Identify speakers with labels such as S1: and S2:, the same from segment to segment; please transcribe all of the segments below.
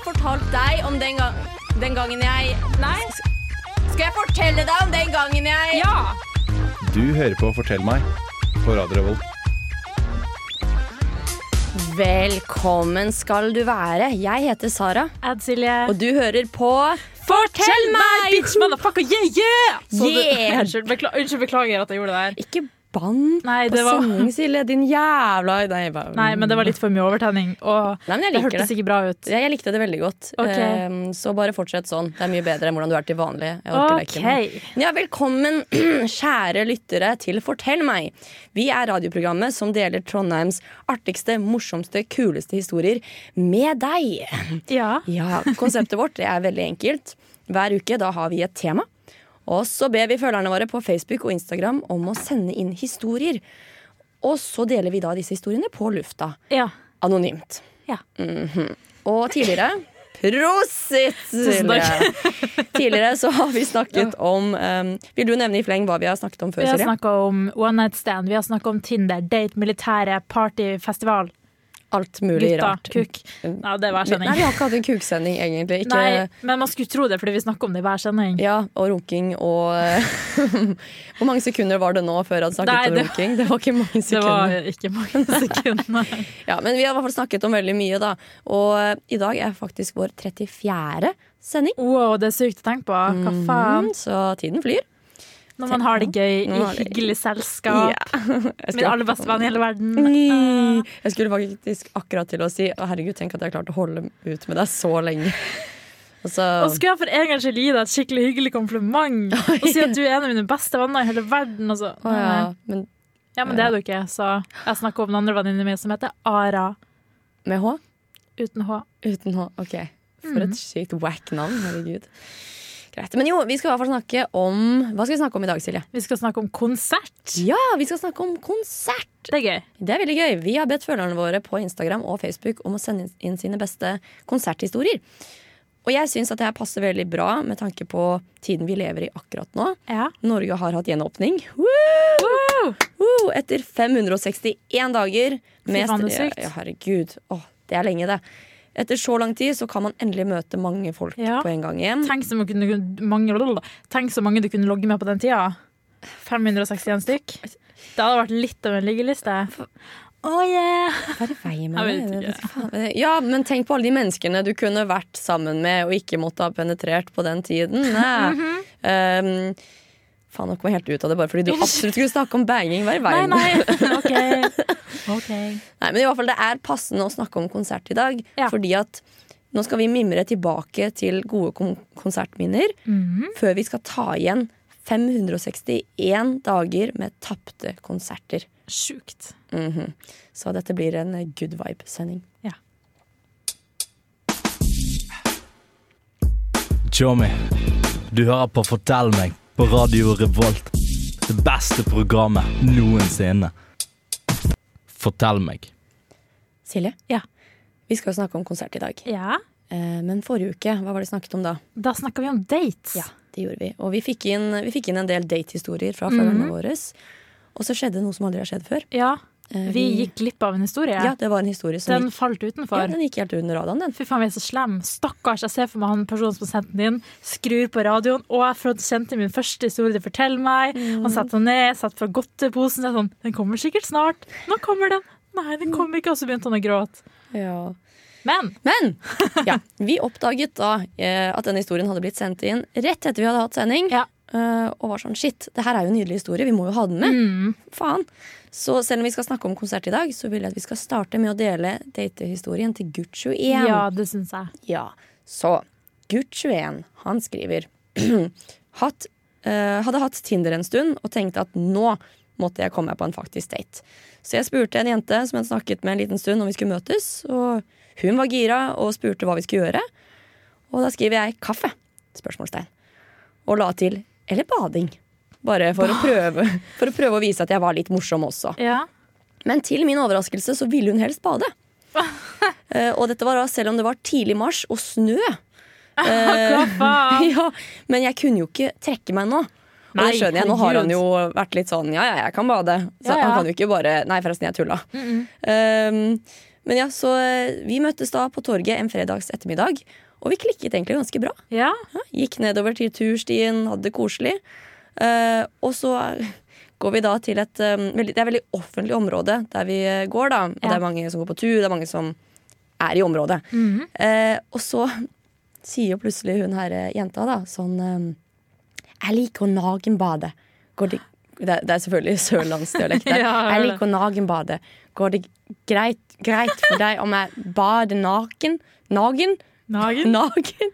S1: fortalt deg om den, ga den gangen jeg
S2: Nei?
S1: Skal jeg fortelle deg om den gangen jeg
S2: Ja!
S3: Du hører på Fortell meg på Radio Revolt.
S1: Velkommen skal du være. Jeg heter Sara,
S2: Ad Silje.
S1: og du hører på
S2: Fortell meg! Bitch, motherfucker, yeah, yeah! Så du-
S1: Yeah!
S2: unnskyld, bekla unnskyld, beklager at jeg gjorde det der.
S1: Ikke bann
S2: Nei,
S1: på
S2: det var-
S1: sending, Silje. Din jævla Nei, jeg bare...
S2: Nei, men det var litt for mye overtenning. Og
S1: Nei, men jeg
S2: det
S1: liker
S2: hørtes
S1: det.
S2: ikke bra ut.
S1: Ja, Jeg likte det veldig godt.
S2: Ok.
S1: Ehm, så bare fortsett sånn. Det er mye bedre enn hvordan du er til vanlig. Jeg orker det ikke.
S2: OK.
S1: Ja, velkommen, kjære lyttere, til Fortell meg. Vi er radioprogrammet som deler Trondheims artigste, morsomste, kuleste historier med deg.
S2: Ja.
S1: Ja, Konseptet vårt det er veldig enkelt. Hver uke da har vi et tema. Og så ber vi følgerne våre på Facebook og Instagram om å sende inn historier. Og så deler vi da disse historiene på lufta.
S2: ja.
S1: Anonymt.
S2: Ja.
S1: Mhm. Og tidligere Prosit!
S2: Tusen takk.
S1: Silje. tidligere så har vi snakket om um, Vil du nevne i fleng hva vi har snakket om før,
S2: Vi har
S1: Silje?
S2: snakka om one night stand, vi har snakka om Tinder, date, militære, party, festival.
S1: Alt mulig
S2: Gutta,
S1: rart.
S2: kuk. Ja, Mm. det er hver
S1: Nei, vi
S2: sending.
S1: har ikke hatt en kuksending, egentlig. Ikke,
S2: Nei, men man skulle tro det, fordi vi snakker om det i hver sending.
S1: Ja, og runking og eh, Hvor mange sekunder var det nå før han snakket
S2: Nei,
S1: om
S2: det-
S1: runking? Det var ikke mange
S2: Det
S1: sekunder.
S2: var ikke mange sekunder.
S1: Ja, Men vi har i hvert fall snakket om veldig mye, da. Og eh, i dag er faktisk vår 34. sending.
S2: Wow, det er sykt å tenke på. Hva faen?
S1: Mm, Så tiden flyr.
S2: Når man har det gøy i
S1: Nå har det-
S2: hyggelig selskap.
S1: Jeg
S2: Min
S1: skulle-
S2: aller beste venn i hele verden.
S1: Mm. Jeg skulle faktisk akkurat til å si Å herregud, tenk at jeg har klart å holde ut med deg så lenge. Og så,
S2: Og skulle jeg for en gangs skyld gi deg et skikkelig hyggelig kompliment og si at du er en av mine beste venner i hele verden. Og så.
S1: å, ja, men
S2: ja, men det er du ikke. Så jeg snakker om den andre venninnen min som heter Ara
S1: med H?
S2: uten H.
S1: Uten H. OK. For et sykt wack navn. Herregud. Greit. Men jo, vi skal i hvert fall snakke om Hva skal vi snakke om i dag, Silje?
S2: Vi skal snakke om konsert.
S1: Ja, vi skal snakke om konsert!
S2: Det er gøy.
S1: Det er veldig gøy. Vi har bedt følgerne våre på Instagram og Facebook om å sende inn sine beste konserthistorier. Og jeg syns at det her passer veldig bra med tanke på tiden vi lever i akkurat nå.
S2: Ja.
S1: Norge har hatt gjenåpning. Woo! Woo! Etter 561 dager med
S2: Fy faen, det er
S1: stre-
S2: sykt.
S1: ja, Herregud, Åh, det er lenge, det. Etter så lang tid så kan man endelig møte mange folk
S2: Ja.
S1: på en gang igjen.
S2: Tenk så, mange, mange- tenk så mange du kunne logge med på den tida. 561 stykk. Det hadde vært litt av en liggeliste. Oh yeah!
S1: Hva er det vei med
S2: Jeg vet
S1: det? Jeg vet ikke faen. Ja, men tenk på alle de menneskene du kunne vært sammen med og ikke måtte ha penetrert på den tiden. Nei. um, faen, nå kom jeg helt ut av det bare fordi du absolutt skulle snakke om banging. Hva er
S2: Nei,
S1: veien? Nei,
S2: nei. OK. Ok.
S1: men i hvert fall, det er passende å snakke om konsert i dag.
S2: Ja.
S1: Fordi at nå skal vi mimre tilbake til gode kon konsertminner
S2: Mhm.
S1: før vi skal ta igjen 561 dager med tapte konserter.
S2: Sjukt.
S1: Mhm. Så dette blir en good vibe-sending.
S4: Tjommi, du hører på Fortell meg på Radio Revolt. Det beste programmet noensinne. Fortell meg.
S1: Silje,
S2: Ja.
S1: vi skal jo snakke om konsert i dag.
S2: Ja.
S1: Eh, Men forrige uke, hva var det snakket om da?
S2: Da snakker vi om dates.
S1: Det gjorde vi. Og vi fikk inn, vi fikk inn en del datehistorier fra
S2: Mhm.
S1: følgerne våre. Og så skjedde noe som aldri har skjedd før.
S2: Ja,
S1: Eh,
S2: Vi gikk glipp av en historie.
S1: Ja, det var en historie som
S2: Den
S1: gikk,
S2: falt
S1: ja,
S2: utenfor.
S1: den gikk helt under radaren, den.
S2: Fy faen, vi er så slem. Stakkars. Jeg ser for meg han personen som sendte den inn, skrur på radioen. Og jeg får- kjente min første historie til Fortell meg. Han setter den ned, setter fra godteposen. Jeg er sånn, den kommer sikkert snart. Nå kommer den. Nei,
S1: Mm.
S2: den kommer ikke. Og så begynte han å gråte.
S1: Ja.
S2: Men
S1: Men ja, vi oppdaget da eh, at denne historien hadde blitt sendt inn rett etter vi hadde hatt sending.
S2: Ja.
S1: Eh, og var sånn shit, det her er jo en nydelig historie, vi må jo ha den med. Faen. Så selv om vi skal snakke om konsert i dag, så vil jeg at vi skal starte med å dele datehistorien til Gutt 21.
S2: ja, det syns jeg.
S1: Ja, så Gutt21, han skriver hatt, eh, Hadde hatt Tinder en stund og tenkte at nå måtte jeg komme meg på en faktisk date. Så jeg spurte en jente som jeg hadde snakket med en liten stund om vi skulle møtes, og hun var gira og spurte hva vi skulle gjøre. Og da skriver jeg 'kaffe'? spørsmålstegn. Og la til 'eller bading'. Bare for å, prøve, for å prøve å vise at jeg var litt morsom også.
S2: Ja.
S1: Men til min overraskelse så ville hun helst bade. Eh, og dette var da selv om det var tidlig mars og snø. Eh,
S2: Hva faen?
S1: Ja, men jeg kunne jo ikke trekke meg nå. Og
S2: Nei,
S1: det skjønner jeg, Nå har han
S2: herregud.
S1: jo vært litt sånn ja, ja, jeg kan bade. Så
S2: Ja, ja.
S1: han kan jo ikke bare Nei, forresten, jeg tulla. Um, Men ja, så eh, vi møttes da på torget en fredags ettermiddag, og vi klikket egentlig ganske bra.
S2: Ja.
S1: Gikk nedover til turstien, hadde det koselig. Eh, og så er- går vi da til et eh, veldig, Det er et veldig offentlig område der vi eh, går, da. Og
S2: Ja.
S1: det er mange som går på tur, det er mange som er i området.
S2: Mhm.
S1: Eh, og så sier jo plutselig hun her eh, jenta da sånn eh, Jeg liker å nagenbade. Går det det er, det er selvfølgelig sørlandsdialekt der.
S2: Ja, jeg hører
S1: jeg
S2: det.
S1: liker å nagenbade. Går det greit, greit for deg om jeg bader naken? Nagen?
S2: Nagen.
S1: Nagen?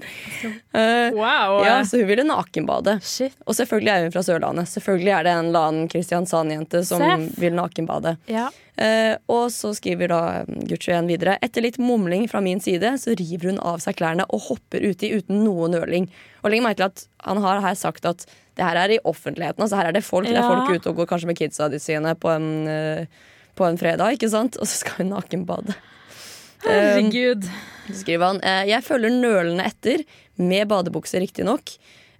S1: Eh,
S2: Wow.
S1: ja, så hun ville nakenbade.
S2: Shit.
S1: Og selvfølgelig er hun fra Sørlandet. Selvfølgelig er det en eller annen Kristiansand-jente som
S2: Seff.
S1: vil nakenbade.
S2: Ja.
S1: Eh, og så skriver da eh, Gucci igjen videre. Etter litt mumling fra min side, så river hun av seg klærne og hopper uti uten noe nøling. Og legg merke til at han har her sagt at det her er i offentligheten. Altså her er det folk, det er
S2: Ja.
S1: folk ute og går kanskje med kidsa de sine på en, eh, på en fredag, ikke sant? Og så skal hun nakenbade.
S2: Herregud.
S1: Så skriver han eh, Jeg følger nølende etter, med badebukse riktignok.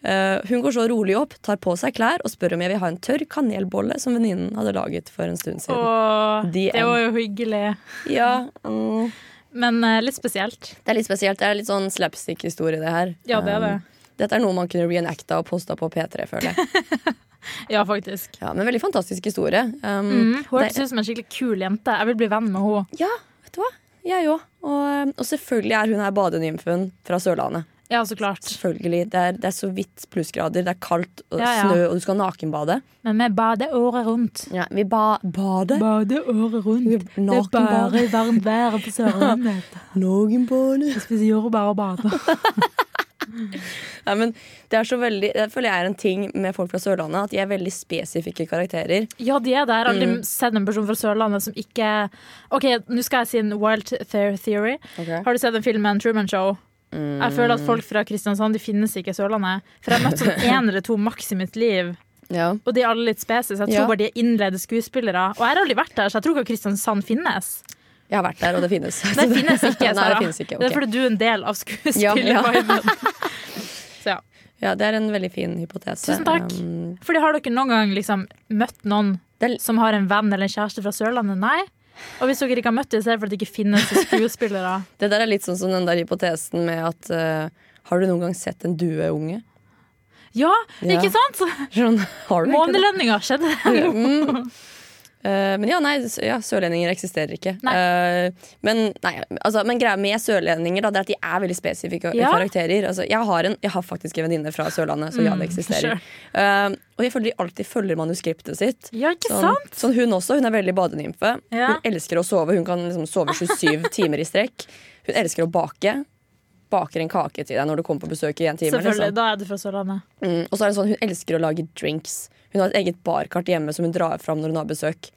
S1: Eh, hun går så rolig opp, tar på seg klær og spør om jeg vil ha en tørr kanelbolle som venninnen hadde laget for en stund siden.
S2: Um, Og
S1: The
S2: det var jo hyggelig.
S1: Ja, mm,
S2: Men eh, litt spesielt.
S1: Det er litt spesielt. Det er litt sånn slapstick-historie, det her.
S2: Ja, det er det.
S1: Um, dette er noe man kunne reenacta og posta på P3, føler jeg.
S2: Ja, faktisk.
S1: Ja, men veldig fantastisk historie. Um,
S2: Mm. Hun
S1: det-
S2: hørtes ut som en skikkelig kul jente. Jeg vil bli venn med henne.
S1: Ja, vet du hva? Jeg òg. Og, um, og selvfølgelig er hun her badenymfen fra Sørlandet.
S2: Ja, så klart.
S1: Selvfølgelig, det er, det er så vidt plussgrader, det er kaldt og
S2: Ja, ja.
S1: snø, og du skal nakenbade.
S2: Men vi bader året rundt.
S1: Ja, vi ba bader.
S2: Bader året rundt.
S1: Det er Nakenbad. bare
S2: varmt vær på Sørlandet.
S1: Nogenbånd.
S2: Spiser jordbær og bader.
S1: Nei, men det er så veldig Det føler jeg er en ting med folk fra Sørlandet, at de er veldig spesifikke karakterer.
S2: Ja, de er det. Jeg har aldri sett en person fra Sørlandet som ikke OK, nå skal jeg si en wild fair theory. Har du sett den filmen Truman Show? Jeg føler at folk fra Kristiansand de finnes ikke i Sørlandet. For jeg har møtt sånn én eller to maks i mitt liv.
S1: Ja.
S2: Og de er alle litt spesis. Jeg tror
S1: Ja.
S2: bare de er innleide skuespillere. Og jeg har aldri vært der, så jeg tror ikke at Kristiansand finnes.
S1: Jeg har vært der, og det finnes.
S2: Det finnes ikke,
S1: Nei,
S2: Sara.
S1: det finnes ikke.
S2: Det er
S1: ok.
S2: fordi du er en del av
S1: Ja, ja.
S2: skuespillerviben. Så ja.
S1: Ja, det er en veldig fin hypotese.
S2: Tusen takk.
S1: Um,
S2: Fordi har dere noen gang liksom møtt noen
S1: Det er-
S2: som har en venn eller en kjæreste fra Sørlandet? Nei. Og hvis dere ikke har møtt dem, så er det fordi det ikke finnes skuespillere.
S1: det der er litt sånn som den der hypotesen med at eh, Har du noen gang sett en dueunge?
S2: Ja,
S1: Ja.
S2: ikke sant?
S1: Sånn, har du ikke det?
S2: Månelønninger skjedde.
S1: Mm. Eh, men ja, nei, s- ja, sørlendinger eksisterer ikke.
S2: Nei.
S1: Eh, men, nei, altså, men greia med sørlendinger da, Det er at de er veldig spesifikke
S2: Ja.
S1: karakterer. Altså, jeg, har en, jeg har faktisk en venninne fra Sørlandet, så ja, det eksisterer.
S2: Mm, sure.
S1: Eh, og jeg føler de alltid følger manuskriptet sitt.
S2: Ja, ikke
S1: Sånn,
S2: sant?
S1: sånn hun også, hun er veldig badenymfe.
S2: Ja.
S1: Hun elsker å sove. Hun kan liksom sove 27 timer i strekk. Hun elsker å bake. Baker en kake til deg når du kommer på besøk i en time.
S2: Selvfølgelig.
S1: liksom.
S2: Da er du fra Sørlandet.
S1: Mm, og så er det sånn, hun elsker å lage drinks. Hun har et eget barkart hjemme som hun drar fram når hun har besøk.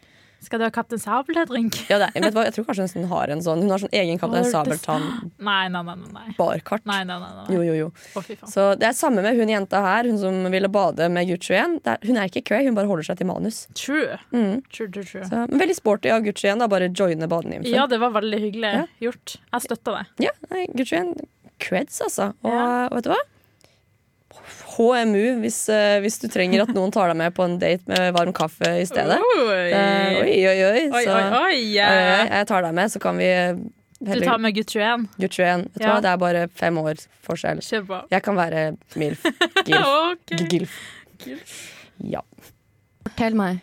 S2: Skal du ha Kaptein Sabeltann-drink?
S1: Ja, det er, vet du hva, jeg tror kanskje hun har en sånn Hun har sånn egen Kaptein
S2: Har du det?
S1: Sabeltann-barkart.
S2: Nei, nei, nei. nei, nei. Nei, nei, nei, nei.
S1: Jo, jo, jo.
S2: Å, fy faen.
S1: Så Det er samme med hun jenta her, hun som ville bade med Gucci igjen. Det er- Hun er ikke cray, hun bare holder seg til manus.
S2: True. True, true, true.
S1: Mm. Så, men veldig sporty av Gucci igjen, da. Bare joine badenymfen.
S2: Ja, det var veldig hyggelig gjort. Jeg støtter det.
S1: Ja, nei, Gucci igjen. Creds, altså. Og,
S2: Ja.
S1: og vet du hva? HMU, hvis, eh, hvis du trenger at noen tar deg med på en date med varm kaffe i stedet. Eh,
S2: Oi,
S1: oi, oi, oi.
S2: oi,
S1: Så,
S2: oi. oi.
S1: eh, jeg tar deg med, så kan vi eh,
S2: Du
S1: heller
S2: tar med gutt 21.
S1: Gucci igjen. Vet du
S2: Ja.
S1: hva, det er bare fem år forskjell.
S2: Kjør på. Ah,
S1: Jeg kan være MILF. Gilf.
S2: Ok.
S1: Gilf. Ja. Fortell meg.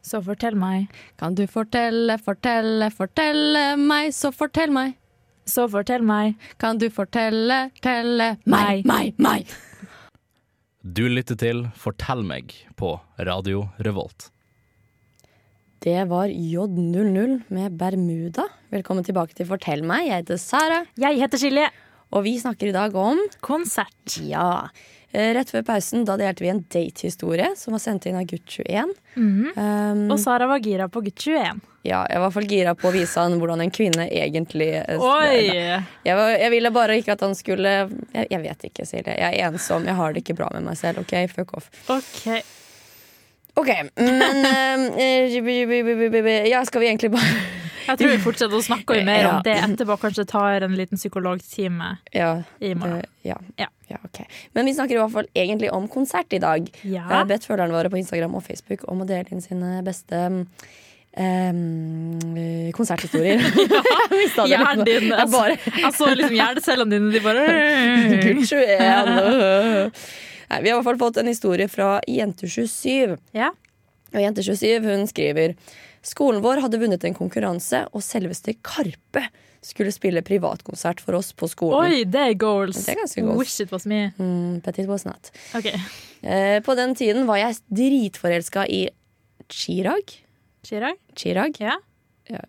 S2: Så fortell meg.
S1: Kan du fortelle, fortelle, fortelle meg, så fortell meg.
S2: Så fortell meg.
S1: Kan du fortelle, telle
S2: meg,
S1: meg, meg.
S4: Du lytter til Fortell meg på Radio Revolt.
S1: Det var J00 med Bermuda. Velkommen tilbake til Fortell meg. Jeg heter Sara,
S2: Jeg heter Silje.
S1: og vi snakker i dag om
S2: Konsert.
S1: Ja. Eh, Rett før pausen da delte vi en datehistorie som var sendt inn av gutt 21.
S2: Mhm.
S1: Um,
S2: Og Sara var gira på gutt 21.
S1: Ja, jeg var i hvert fall gira på å vise han hvordan en kvinne egentlig eh,
S2: Oi!
S1: Jeg, var, jeg ville bare ikke at han skulle Jeg, jeg vet ikke, Silje. Jeg er ensom. Jeg har det ikke bra med meg selv. OK, fuck off.
S2: OK.
S1: OK, men eh, Ja, skal vi egentlig bare
S2: Jeg tror vi fortsetter å snakke mer om
S1: Ja.
S2: det etterpå. Kanskje tar en liten psykologtime
S1: Ja.
S2: i morgen.
S1: eh, ja.
S2: Ja.
S1: ja, OK. Men vi snakker i hvert fall egentlig om konsert i dag. Jeg
S2: Ja.
S1: har bedt følgerne våre på Instagram og Facebook om å dele inn sine beste mm, eh, konserthistorier. Jeg mistet det.
S2: Hjernen din.
S1: Jeg bare
S2: Jeg så liksom hjernecellene dine, de bare
S1: Gutt 21. Nei, vi har i hvert fall fått en historie fra Jente27.
S2: Ja.
S1: Og Jente27 hun skriver Skolen vår hadde vunnet en konkurranse, og selveste Karpe skulle spille privatkonsert for oss på skolen.
S2: Oi, det er goals.
S1: Det er ganske goals.
S2: Wish it was me.
S1: Mm, but it was not.
S2: OK.
S1: Eh, på den tiden var jeg dritforelska i Chirag.
S2: Chirag?
S1: Chirag?
S2: Ja,
S1: Jeg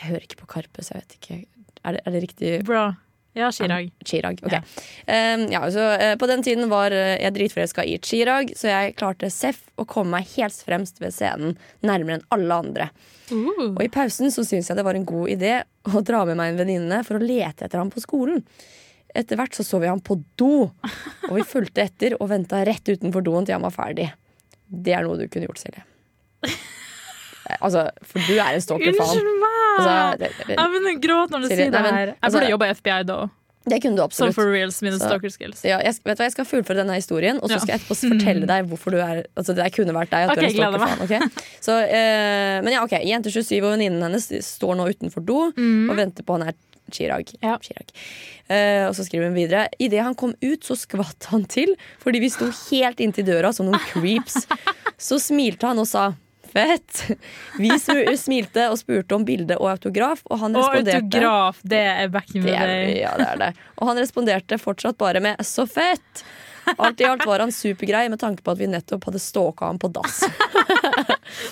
S1: hører ikke på Karpe, så jeg vet ikke. Er det, er det riktig?
S2: bra. Ja, Chirag.
S1: Chirag. ok.
S2: Ja.
S1: Ehm, ja, så, eh, på den tiden var eh, jeg dritforelska i Chirag, så jeg klarte seff å komme meg helt fremst ved scenen, nærmere enn alle andre.
S2: Uh.
S1: Og i pausen så syntes jeg det var en god idé å dra med meg en venninne for å lete etter ham på skolen. Etter hvert så så vi ham på do, og vi fulgte etter og venta rett utenfor doen til han var ferdig. Det er noe du kunne gjort, Silje. Eh, Altså, for du er en stalker, faen.
S2: Unnskyld meg!
S1: Altså, det, det,
S2: jeg begynner å gråte når du
S1: Silje,
S2: sier det
S1: nei, men,
S2: her. Jeg
S1: altså-
S2: burde jobba i FBI da òg.
S1: det kunne du
S2: Sånn
S1: absolutt.
S2: for reals, mine
S1: Så-
S2: stalker skills.
S1: Ja, jeg, vet du hva, jeg skal fullføre denne historien, og så
S2: Ja. Mm.
S1: skal jeg etterpå fortelle deg hvorfor du er Altså, det kunne vært deg. At
S2: Ok,
S1: du er en
S2: gleder meg.
S1: stalkerfan, ok? Så, eh, men ja, ok. Jente 27 og venninnen hennes står nå utenfor do og venter på han her Chirag.
S2: Mm. Ja.
S1: Chirag. Eh, og så skriver hun videre. Idet han kom ut, så skvatt han til, fordi vi sto helt inntil døra som noen creeps. Så smilte han og sa Fett! Vi smu- smilte og spurte om bilde og autograf, og han
S2: Og
S1: responderte
S2: autograf, det er back in the
S1: det er,
S2: day.
S1: ja, det er det. Og han responderte fortsatt bare med 'så fett'. Alt i alt var han supergrei med tanke på at vi nettopp hadde stalka ham på dass.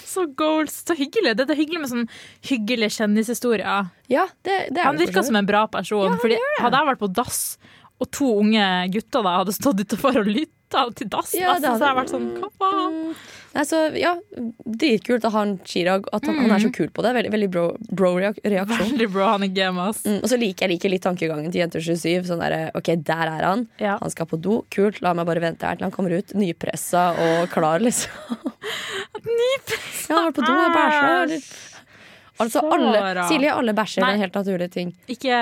S2: Så goals. Så hyggelig. Det er det hyggelig med sånn hyggelige kjendishistorier.
S1: Ja, det, det er
S2: Han
S1: det for så
S2: virka
S1: vidt.
S2: som en bra person. fordi hadde jeg vært på dass, og to unge gutter da hadde stått utafor og lytta til dassen,
S1: Ja,
S2: altså,
S1: det
S2: så hadde jeg
S1: hadde-
S2: vært sånn Hva faen?
S1: Mm. Nei, så, ja, Dritkult av han Chirag at han, han er så kul på det. Veldig, veldig bro-reaksjon. Bro reak- reaksjon.
S2: Veldig bro, han er gamas.
S1: mm, og så liker jeg liker litt tankegangen til Jenter 27. Sånn der, ok, der er han.
S2: Ja.
S1: Han skal på do. Kult, la meg bare vente her til han kommer ut. Nypressa og klar, liksom. Nypressa? Ja, han har vært på do og bæsja. eller- Altså, alle,
S2: Sara.
S1: Silje, alle bæsjer. Det er
S2: Nei.
S1: en helt naturlig ting.
S2: Ikke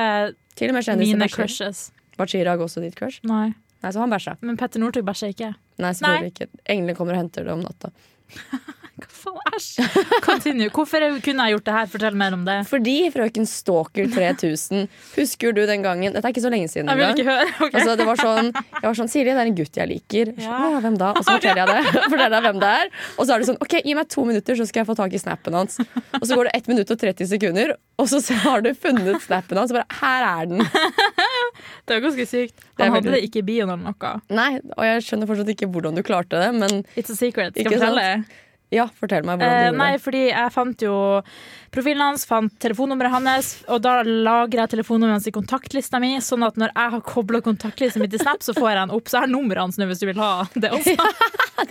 S1: Til og med kjendiser
S2: mine
S1: bæsjer.
S2: crushes.
S1: Var Chirag også ditt crush?
S2: Nei.
S1: Nei, så han bæsja.
S2: Men Petter Northug bæsjer ikke.
S1: Nei, selvfølgelig ikke. Englene kommer og henter det om natta.
S2: Hva faen, æsj! Continue. Hvorfor er- kunne jeg gjort det her? Fortell mer om det.
S1: Fordi frøken Stalker 3000, husker du den gangen Dette er ikke så lenge siden
S2: Jeg vil
S1: engang.
S2: ikke høre. ok.
S1: Altså, det var sånn, jeg var sånn Silje, det er en gutt jeg liker. Jeg
S2: Ja.
S1: sa, «Å, hvem da? Og så forteller jeg det. forteller jeg hvem det er Og så er det sånn OK, gi meg to minutter, så skal jeg få tak i snappen hans. Og så går det 1 minutt og 30 sekunder, og så har du funnet snappen hans. Og bare, her er den.
S2: Det er ganske sykt.
S1: Det er
S2: Han hadde
S1: veldig-
S2: det ikke i bioen eller noe.
S1: Nei, og jeg skjønner fortsatt ikke hvordan du klarte det, men
S2: It's a secret. Skal
S1: Ikke
S2: jeg
S1: sant?
S2: fortelle?
S1: ja, fortell meg hvordan du
S2: Eh,
S1: gjorde
S2: nei,
S1: det.
S2: fordi jeg fant jo profilen hans, fant telefonnummeret hans, og da lagrer jeg telefonnummeret hans i kontaktlista mi, sånn at når jeg har kobla kontaktlista mi til Snap, så får jeg den opp. Så jeg har nummeret hans nå, hvis du vil ha det også.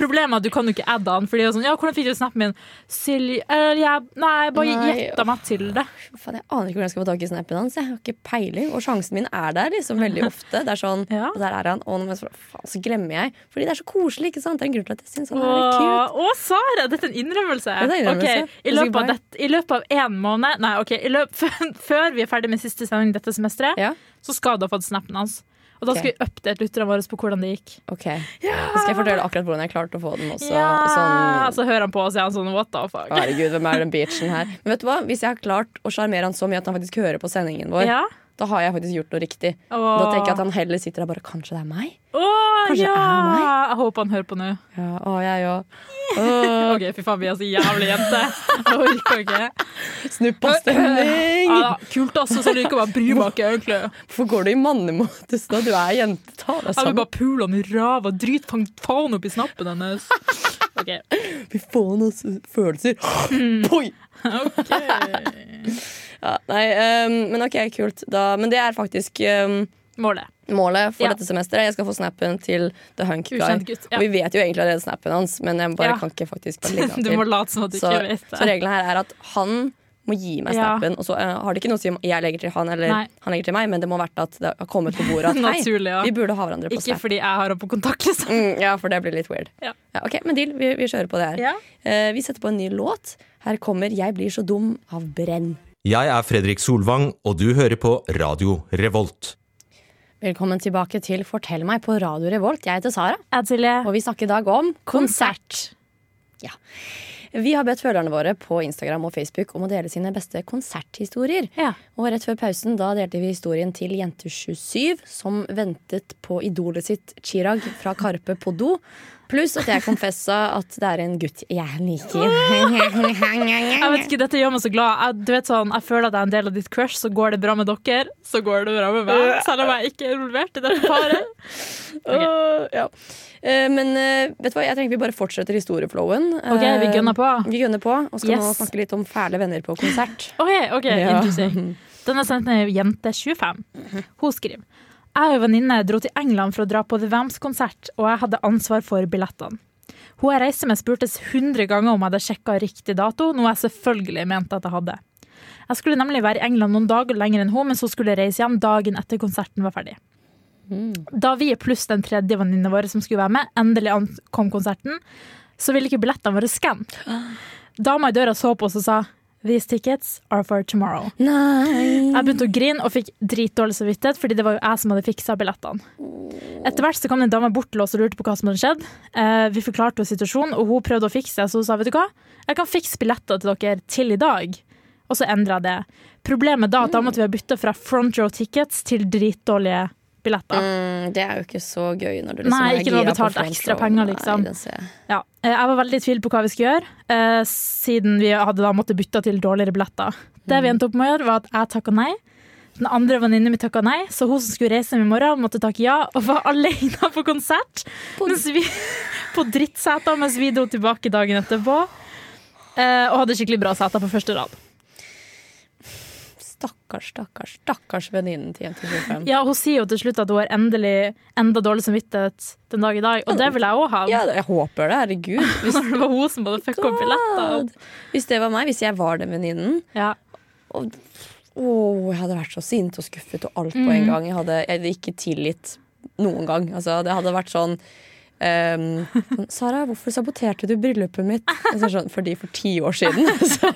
S2: Problemet er at du kan jo ikke adde han, fordi det er sånn Ja, hvordan fikk du snappen min? Silje eh, jeg, Nei, jeg bare
S1: Nei,
S2: gjetta meg til det.
S1: Faen, jeg aner ikke hvordan jeg skal få tak i snappen hans. Jeg har ikke peiling, og sjansen min er der liksom veldig ofte. Det er sånn,
S2: Ja.
S1: og der er han, og nå- faen, så glemmer jeg. Fordi det er så koselig, ikke sant? Det er en grunn til at jeg syns han er litt cute.
S2: Åh, Å, Sara! Dette er en innrømmelse.
S1: er en innrømmelse.
S2: Ok, i, løpet av dette, I løpet av én måned Nei, OK. I løp, før vi er ferdig med siste sending dette semesteret,
S1: Ja,
S2: så skal du ha fått snappen hans. Og da
S1: Ok.
S2: skal vi oppdate lytterne våre på hvordan det gikk.
S1: ok. Da skal jeg fortelle akkurat hvordan jeg klarte å få den også.
S2: ja,
S1: Sånn, Ah.
S2: Så hører han på og sier han sånn what the fuck.
S1: herregud, hvem er den beachen her? Men vet du hva? Hvis jeg har klart å sjarmere han så mye at han faktisk hører på sendingen vår,
S2: Ja.
S1: da har jeg faktisk gjort noe riktig.
S2: Åh.
S1: Da tenker jeg at han heller sitter der bare Kanskje det er meg?
S2: Åh,
S1: Kanskje
S2: ja!
S1: det er meg?
S2: Jeg håper han hører på nå.
S1: Ja, å, jeg òg.
S2: OK, fy faen, vi er så jævlig jente. Jeg orker ikke.
S1: Snuppastemning!
S2: Ja, da, kult, altså, så liker jeg bare brybakke, egentlig.
S1: Hvorfor går du i mannemodus nå? Du er jente. Ta deg
S2: Jeg vil
S1: sammen.
S2: bare pule han i ræva. Drit fang- faen opp i snappen hennes. OK.
S1: Vi får noen s- følelser.
S2: Hmm.
S1: Poi! Ja, nei, ehm, men OK, kult. Da, men det er faktisk ehm,
S2: Målet.
S1: målet for
S2: Ja.
S1: dette semesteret. Jeg skal få snappen til The Hunk Guy.
S2: Ukjent gutt, ja.
S1: Og vi vet jo egentlig allerede snappen hans, men jeg bare
S2: Ja.
S1: kan ikke faktisk bare legge han
S2: Du må
S1: til.
S2: late som at du
S1: Så,
S2: ikke vet
S1: så
S2: det.
S1: reglene her er at han må gi meg
S2: Ja.
S1: snappen, og så eh, har det ikke noe å si om jeg legger til han eller
S2: Nei.
S1: han legger til meg, men det må ha vært at det har kommet på bordet at hei,
S2: Naturlig, ja.
S1: vi burde ha hverandre på
S2: Ikke
S1: snap.
S2: fordi jeg har han på kontaktlista.
S1: Mm, ja, for det blir litt weird.
S2: Ja.
S1: ok, men deal, vi, vi kjører på det her.
S2: Ja.
S1: Eh, vi setter på en ny låt. Her kommer 'Jeg blir så dum' av Brenn.
S5: Jeg er Fredrik Solvang, og du hører på Radio Revolt.
S1: Velkommen tilbake til Fortell meg på Radio Revolt. Jeg heter Sara,
S2: Jeg, Silje.
S1: og vi snakker i dag om konsert. Ja. Vi har bedt følgerne våre på Instagram og Facebook om å dele sine beste konserthistorier.
S2: Ja.
S1: Og rett før pausen da delte vi historien til Jente27, som ventet på idolet sitt Chirag fra Karpe på do. Pluss at jeg konfessa at det er en gutt jeg
S2: Jeg
S1: liker.
S2: vet ikke, Dette gjør meg så glad. Jeg, du vet sånn, jeg føler at jeg er en del av ditt crush, så går det bra med dere. Så går det bra med meg, selv om jeg ikke er involvert i dette paret.
S1: Åh, ja. Eh, Men eh, vet du hva, jeg tenker vi bare fortsetter historieflowen. Eh,
S2: Ok, vi gunner på.
S1: Vi gunner på, og skal nå
S2: Yes.
S1: snakke litt om fæle venner på konsert.
S2: OK, ok,
S1: Ja.
S2: interesting. Den er sendt ned av jente25. Hun skriver Jeg og en venninne dro til England for å dra på The Vamps-konsert, og jeg hadde ansvar for billettene. Hun jeg reiste med spurtes 100 ganger om jeg hadde sjekka riktig dato, noe jeg selvfølgelig mente at jeg hadde. Jeg skulle nemlig være i England noen dager lenger enn hun, mens hun skulle reise hjem dagen etter konserten var ferdig. Da vi pluss den tredje venninna vår som skulle være med, endelig ankom konserten, så ville ikke billettene våre skanne. Dama i døra så på oss og sa These tickets are for tomorrow.
S1: Nei.
S2: Jeg begynte å grine og fikk dritdårlig samvittighet, fordi det var jo jeg som hadde fiksa billettene. Etter hvert så kom det en dame bort til oss og lurte på hva som hadde skjedd. Eh, vi forklarte henne situasjonen, og hun prøvde å fikse det, så hun sa vet du hva, jeg kan fikse billetter til dere til i dag. Og så endra jeg det. Problemet da at da måtte vi ha bytta fra front row tickets til dritdårlige billetter.
S1: Mm, det er jo ikke så gøy når du liksom
S2: Nei, ikke når du har
S1: gira på
S2: betalt ekstra
S1: frontshow.
S2: penger,
S1: Nei,
S2: liksom.
S1: den ser jeg.
S2: Ja. Eh, jeg var veldig i tvil på hva vi skulle gjøre, eh, siden vi hadde da måttet bytte til dårligere billetter. Det
S1: Mm.
S2: vi endte opp med å gjøre, var at jeg takka nei. Den andre venninnen min takka nei, så hun som skulle reise hjem i morgen, måtte takke ja og var alene på konsert mens vi, på drittseter mens vi dro tilbake dagen etterpå. eh, Og hadde skikkelig bra seter på første rad.
S1: Stakkars, stakkars, stakkars venninnen til jente 25.
S2: Ja, Hun sier jo til slutt at hun har endelig enda dårlig samvittighet den dag i dag, og det vil jeg òg ha.
S1: Ja, jeg håper det. Herregud. Hvis,
S2: Når det var hun som både fucka opp billetter.
S1: God. hvis det var meg, hvis jeg var den venninnen
S2: Ja.
S1: og- Åh, Jeg hadde vært så sint og skuffet og alt på en
S2: Mm.
S1: gang. Jeg hadde, jeg hadde ikke tilgitt noen gang. Altså, det hadde vært sånn ehm, sånn, Sara, hvorfor saboterte du bryllupet mitt? Og så er det sånn, Fordi for ti år siden så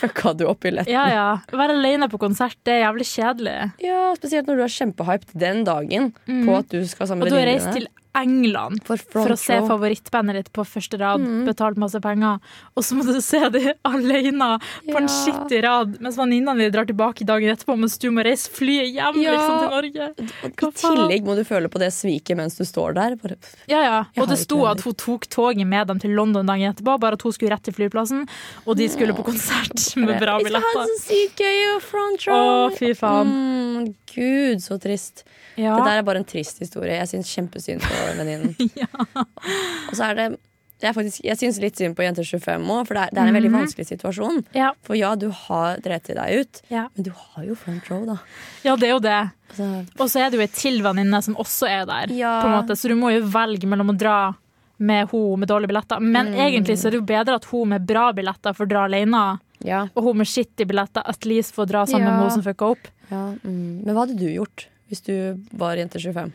S1: fucka du opp i lett.
S2: Ja, ja. Å være alene på konsert, det er jævlig kjedelig.
S1: Ja, Spesielt når du er kjempehyped den dagen på at du skal sammen
S2: Mm.
S1: med
S2: Og du har
S1: venninnene.
S2: reist til England
S1: For
S2: for,
S1: front
S2: å se
S1: row.
S2: favorittbandet ditt på første rad,
S1: Mm.
S2: betalt masse penger, og så må du se dem alene på
S1: Ja.
S2: en skittig rad, mens venninnene dine drar tilbake dagen etterpå, mens du må reise flyet hjem
S1: Ja.
S2: liksom, til Norge.
S1: I tillegg må du føle på det sviket mens du står der. Bare,
S2: Ja, ja.
S1: Jeg
S2: Og
S1: har ikke
S2: det sto
S1: venner.
S2: at hun tok toget med dem til London dagen etterpå, bare at hun skulle rett til flyplassen, og de skulle på konsert med bra
S1: Vi skal ha det
S2: billetter.
S1: så sykt gøy og front
S2: Å,
S1: row.
S2: fy faen.
S1: Mm, Gud, så trist.
S2: Ja.
S1: Det der er bare en trist historie. Jeg syns kjempesynd på venninnen. Og så er det det er faktisk, Jeg syns litt synd på jenter 25 òg, for det er, det er en
S2: Mhm.
S1: veldig vanskelig situasjon.
S2: Ja.
S1: For ja, du har dreti deg ut,
S2: Ja.
S1: men du har jo front row, da.
S2: ja, det er jo det.
S1: Altså,
S2: Og så er det jo ei til venninne som også er der,
S1: Ja.
S2: på en måte. så du må jo velge mellom å dra med hun med dårlige billetter. Men
S1: Mm.
S2: egentlig så er det jo bedre at hun med bra billetter får dra alene,
S1: ja,
S2: og hun med skittige billetter at least får dra sammen
S1: Ja.
S2: med hun som fucka opp.
S1: ja, mm. Men hva hadde du gjort hvis du var jente 25?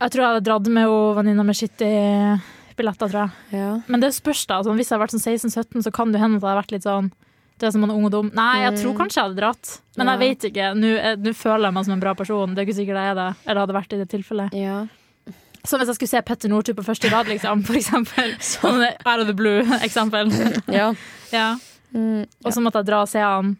S2: Jeg tror jeg hadde dratt med hun venninna med skittige billetter, tror jeg.
S1: Ja.
S2: Men det spørs, da. Sånn, hvis jeg hadde vært sånn 16-17, så kan det hende at jeg hadde vært litt sånn det er som man er ung og dum. Nei, jeg
S1: Mm.
S2: tror kanskje jeg hadde dratt. Men jeg vet ikke. Nå er- nå føler jeg meg som en bra person. Det er ikke sikkert jeg er det. Eller hadde vært i det tilfellet.
S1: ja.
S2: Som hvis jeg skulle se Petter Northug på første rad, liksom, for eksempel. Sånn Out of the blue-eksempel.
S1: ja.
S2: Ja. Og så måtte jeg dra og se han.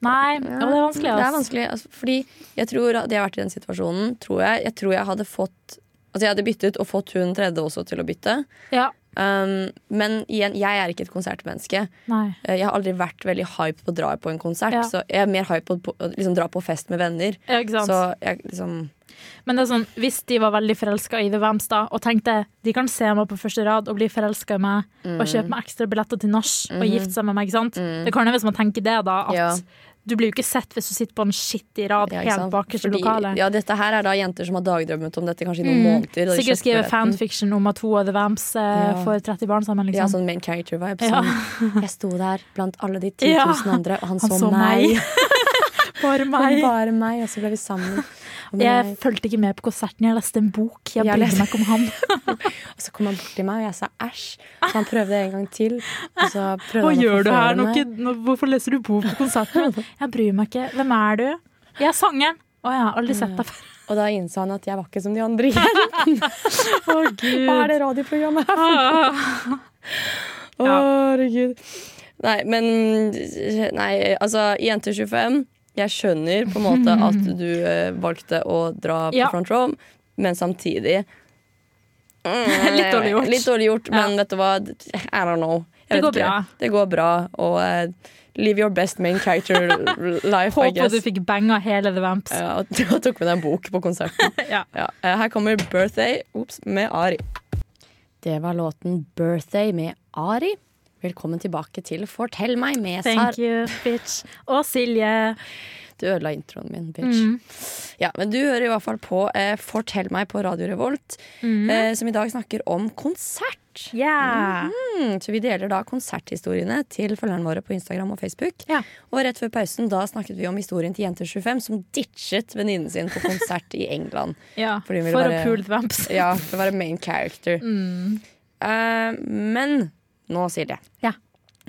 S2: Nei, ja, det er
S1: Mm,
S2: vanskelig.
S1: Det er
S2: Ass.
S1: vanskelig, altså, fordi jeg tror at jeg har vært i den situasjonen, tror jeg. Jeg tror jeg hadde fått Altså jeg hadde byttet og fått hun tredje også til å bytte.
S2: Ja.
S1: Um, men igjen, jeg er ikke et konsertmenneske.
S2: Nei.
S1: Eh, Jeg har aldri vært veldig hyped på å dra på en konsert.
S2: Ja.
S1: Så jeg er mer hyped på, på å liksom, dra på fest med venner.
S2: Ja, ikke sant?
S1: Så jeg liksom
S2: Men det er sånn, hvis de var veldig forelska i The Vamps da, og tenkte de kan se meg på første rad og bli forelska i meg,
S1: Mm.
S2: og kjøpe meg ekstra billetter til nach og gifte seg med meg, ikke sant? Det kan jo hvis man tenker det, da, at
S1: Mm-hmm. Ja.
S2: du blir jo ikke sett hvis du sitter på en skittig rad
S1: ja, ikke
S2: helt
S1: sant?
S2: bakerst i
S1: Fordi-
S2: lokalet.
S1: Ja, dette her er da jenter som har dagdrømmet om dette kanskje i noen måneder. da de
S2: Mm. Sikkert
S1: kjøpte
S2: skrive
S1: billetten.
S2: fanfiction om at to av The Vamps eh,
S1: Ja.
S2: får 30 barn sammen, liksom.
S1: Ja, sånn main character-vibe.
S2: Ja.
S1: Sånn, jeg sto der blant alle de 10
S2: Ja.
S1: 000 andre, og han,
S2: Han så meg. Bare
S1: Han
S2: meg.
S1: bare meg, og så ble vi sammen. Og men
S2: Jeg
S1: jeg,
S2: fulgte ikke med på konserten, jeg leste en bok. Jeg
S1: Jeg
S2: brydde
S1: leste-
S2: meg ikke om han.
S1: og så kom han bort til meg, og jeg sa æsj. Så han prøvde en gang til. Og så prøvde han
S2: Hva
S1: å
S2: gjør du
S1: forføre
S2: her? Nå,
S1: meg.
S2: ikke- nå, hvorfor leser du bok på konserten? min? Jeg bryr meg ikke. Hvem er du? Jeg er sangeren. Å, jeg har aldri sett deg før.
S1: Og da innså han at jeg var ikke som de andre igjen.
S2: Å, Gud.
S1: Hva er det radioprogrammet her?
S2: Ah,
S1: Å, Herregud. Nei, men Nei, altså, jenter 25 Jeg skjønner på en måte at du eh, valgte å dra på
S2: Ja.
S1: front row, men samtidig mm,
S2: Litt dårlig gjort.
S1: Litt dårlig gjort,
S2: Ja.
S1: men vet du hva? I don't know.
S2: Det
S1: Jeg vet
S2: går bra.
S1: Det går bra. Og eh, live your best main character life, I
S2: Håper
S1: guess.
S2: du fikk banga hele The Vamps.
S1: Ja, og og tok med deg en bok på konserten.
S2: Ja.
S1: Ja, eh, Her kommer 'Birthday' Ops, med Ari. Det var låten 'Birthday' med Ari. Velkommen tilbake til 'Fortell meg' med Sar.
S2: Thank you, bitch. Og Silje.
S1: Du ødela introen min, bitch.
S2: Mm.
S1: Ja, men du hører i hvert fall på eh, 'Fortell meg' på Radio Revolt,
S2: Mm.
S1: eh, som i dag snakker om konsert.
S2: Yeah.
S1: Mm, så vi deler da konserthistoriene til følgerne våre på Instagram og Facebook.
S2: Ja.
S1: Og rett før pausen da snakket vi om historien til Jenter25 som ditchet venninnen sin på konsert i England.
S2: ja.
S1: Fordi hun ville
S2: For å
S1: være-
S2: pule The Vamps.
S1: Ja, for å være main character. Eh, men nå, Silje.
S2: Mm. Ja.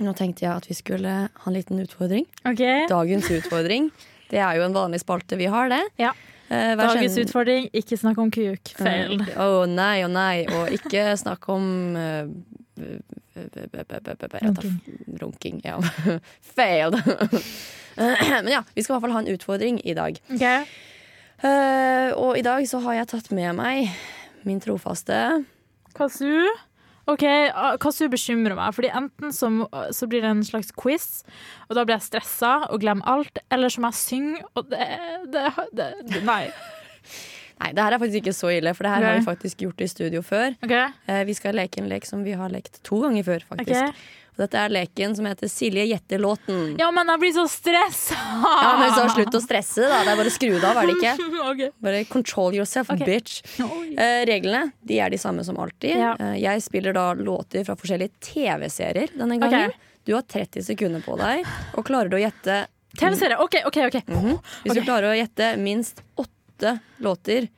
S1: Nå tenkte jeg at vi skulle ha en liten utfordring.
S2: OK.
S1: Dagens utfordring. Det er jo en vanlig spalte vi har, det.
S2: Ja.
S1: Eh, hver
S2: Dagens
S1: kjenn-
S2: utfordring, ikke snakk om kuk. Feil.
S1: Eh, Å nei, å nei. Og ikke snakk om eh, b- b- b- b- b- b- jeg tar f- Runking. Ja. Failed. Men ja, vi skal i hvert fall ha en utfordring i dag.
S2: OK.
S1: Eh, og i dag så har jeg tatt med meg min trofaste
S2: Kasu. Ok, ah, Kasu bekymrer meg, Fordi enten så, må- så blir det en slags quiz, og da blir jeg stressa og glemmer alt, eller så må jeg synge, og det, det, det, det Nei.
S1: Nei, det her er faktisk ikke så ille, for det her
S2: Nei.
S1: har vi faktisk gjort i studio før.
S2: OK?
S1: Eh, vi skal leke en lek som vi har lekt to ganger før, faktisk.
S2: Ok.
S1: Og dette er leken som heter Silje gjetter låten.
S2: Ja, men jeg blir så stressa!
S1: Ja, men så slutt å stresse, da. Det er bare å skru det av, er det ikke?
S2: OK.
S1: Bare control yourself,
S2: Ok.
S1: bitch. Eh, reglene de er de samme som alltid.
S2: Ja.
S1: Eh, jeg spiller da låter fra forskjellige TV-serier denne gangen.
S2: Ok.
S1: Du har 30 sekunder på deg, og klarer du å gjette mhm,
S2: TV-serie. OK, OK. ok
S1: Hvis
S2: Ok.
S1: du klarer å gjette minst åtte låter,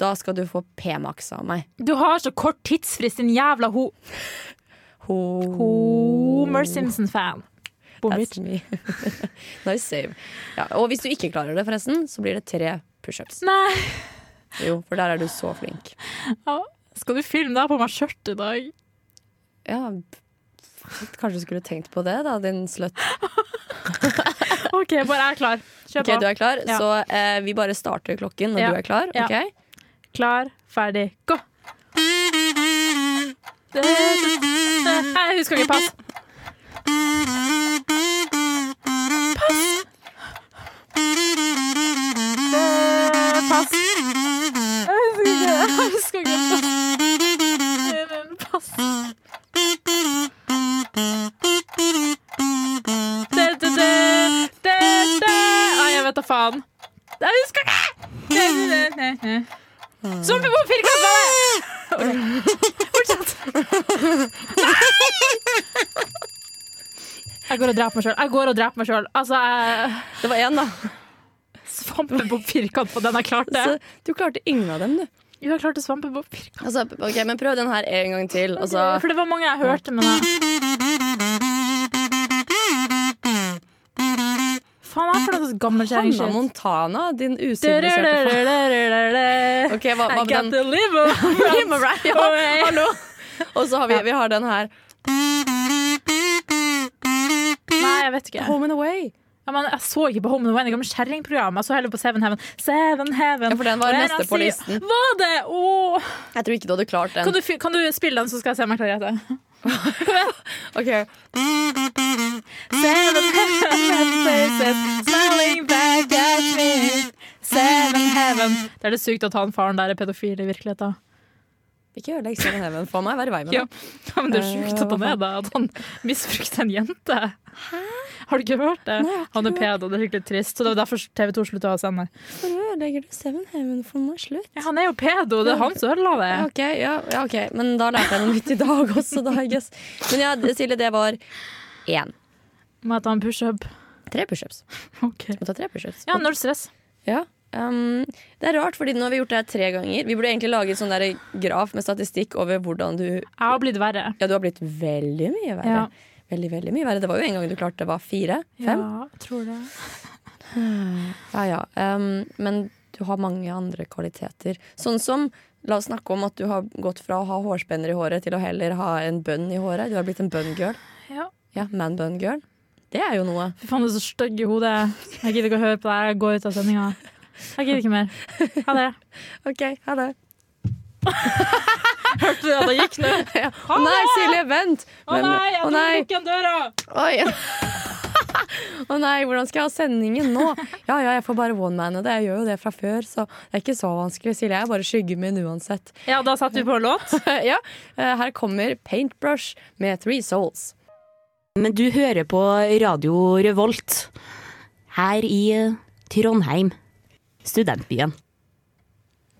S1: da skal du få P-max av meg.
S2: Du har så kort tidsfrist, din jævla ho...
S1: Ho
S2: Homer Simpson-fan.
S1: That's me. nice save. Ja, og hvis du ikke klarer det, forresten, så blir det tre pushups.
S2: Nei.
S1: Jo, for der er du så flink.
S2: Ja, Skal du filme deg på meg skjørt i dag?
S1: Ja, kanskje du skulle tenkt på det, da, din slutt.
S2: OK, bare jeg er klar. Kjør
S1: Ok,
S2: på.
S1: du er klar,
S2: Ja.
S1: så eh, vi bare starter klokken når
S2: Ja.
S1: du er klar.
S2: Ja.
S1: ok?
S2: Klar, ferdig, gå! Jeg husker ikke pass. Pass. Pass. Jeg husker ikke. Jeg husker ikke. Pass. Det, det, det, det, det. Nei, jeg vet da faen. Jeg husker ikke! Nei, nei, nei, nei. Zombiebom firkant var det! Fortsett. Jeg går og dreper meg sjøl. Jeg går og dreper meg sjøl. Altså, jeg
S1: Det var én, da.
S2: Svampebob firkant på den jeg klarte.
S1: Så du klarte ingen av dem, du.
S2: Jo, jeg klarte svampebob firkant.
S1: Altså, ok, Men prøv den her en gang til. Altså, og så-
S2: For det var mange jeg hørte, men jeg Faen, jeg føler at
S1: Hanna
S2: gammelkjerringshit.
S1: Montana, din usiviliserte faen.
S2: Okay,
S1: Ok, hva, hva
S2: I
S1: med
S2: got
S1: den?
S2: the liver.
S1: Ja, hallo! Og så har vi, vi har den her.
S2: Nei, jeg vet ikke.
S1: Home and away.
S2: Ja, men jeg så ikke på Home and Away, det gamle kjerringprogrammet. Jeg så heller på Seven Heaven. Seven Heaven.
S1: Ja, for den var
S2: Og
S1: neste
S2: jeg
S1: på
S2: sier-
S1: listen.
S2: Var det? Åh.
S1: Jeg tror ikke du hadde klart den.
S2: Kan, du, fi- kan du spille den, så skal jeg se om jeg klarer å gjette?
S1: Ok.
S2: Seven heaven places smiling back at me. Seven heaven. Det er det sykt at han faren der er pedofil i virkeligheten.
S1: Ikke ødelegg Seven Heaven for meg. Vær i vei med
S2: Ja.
S1: det.
S2: ja, men det er sjukt at han er det. At han misbrukte en jente. Har du ikke hørt det?
S1: Nei, jeg har ikke
S2: han er
S1: hørt
S2: pedo, det er skikkelig trist. Så det var derfor TV 2 slutta å sende.
S1: Hvorfor ødelegger du Seven Heaven for meg? Slutt.
S2: Ja, han er jo pedo, det er han som ødela det.
S1: Ja, ok, ja, ja, ok. Men da lærte jeg noe nytt i dag også, da, I guess. Men ja, det- Silje, det var én.
S2: Må jeg ta en pushup?
S1: Tre pushups.
S2: Ok.
S1: Må ta tre pushups.
S2: Ja, null stress.
S1: Ja. Um, det er rart, fordi nå har vi gjort det her tre ganger. Vi burde egentlig lage en sånn der graf med statistikk over hvordan du
S2: Jeg har blitt verre.
S1: Ja, du har blitt veldig mye verre.
S2: Ja.
S1: Veldig, veldig mye verre. Det var jo en gang du klarte det var fire? Fem?
S2: Ja, tror det.
S1: Ja, ja. Um, men du har mange andre kvaliteter. Sånn som, la oss snakke om at du har gått fra å ha hårspenner i håret til å heller ha en bønn i håret. Du har blitt en bønn-girl.
S2: Ja.
S1: Ja, man-bønn-girl. Det er jo noe.
S2: Fy faen, du er så stygg i hodet. Jeg gidder ikke å høre på det her. Jeg går ut av sendinga. Jeg gidder ikke mer. Ha det.
S1: OK, ha det.
S2: Hørte du at det gikk nå?
S1: Å nei, Silje, vent!
S2: Å
S1: Men-
S2: nei,
S1: å
S2: jeg tror
S1: nei.
S2: jeg lukker døra!
S1: Oi. Å nei, hvordan skal jeg ha sendingen nå? Ja, ja, jeg får bare one-mane det. Jeg gjør jo det fra før, så det er ikke så vanskelig, Silje. Jeg er bare skyggen min uansett.
S2: Ja, da satte vi på en låt.
S1: Ja, eh, her kommer Paintbrush med Three Souls.
S6: Men du hører på Radio Revolt her i eh, Trondheim, studentbyen.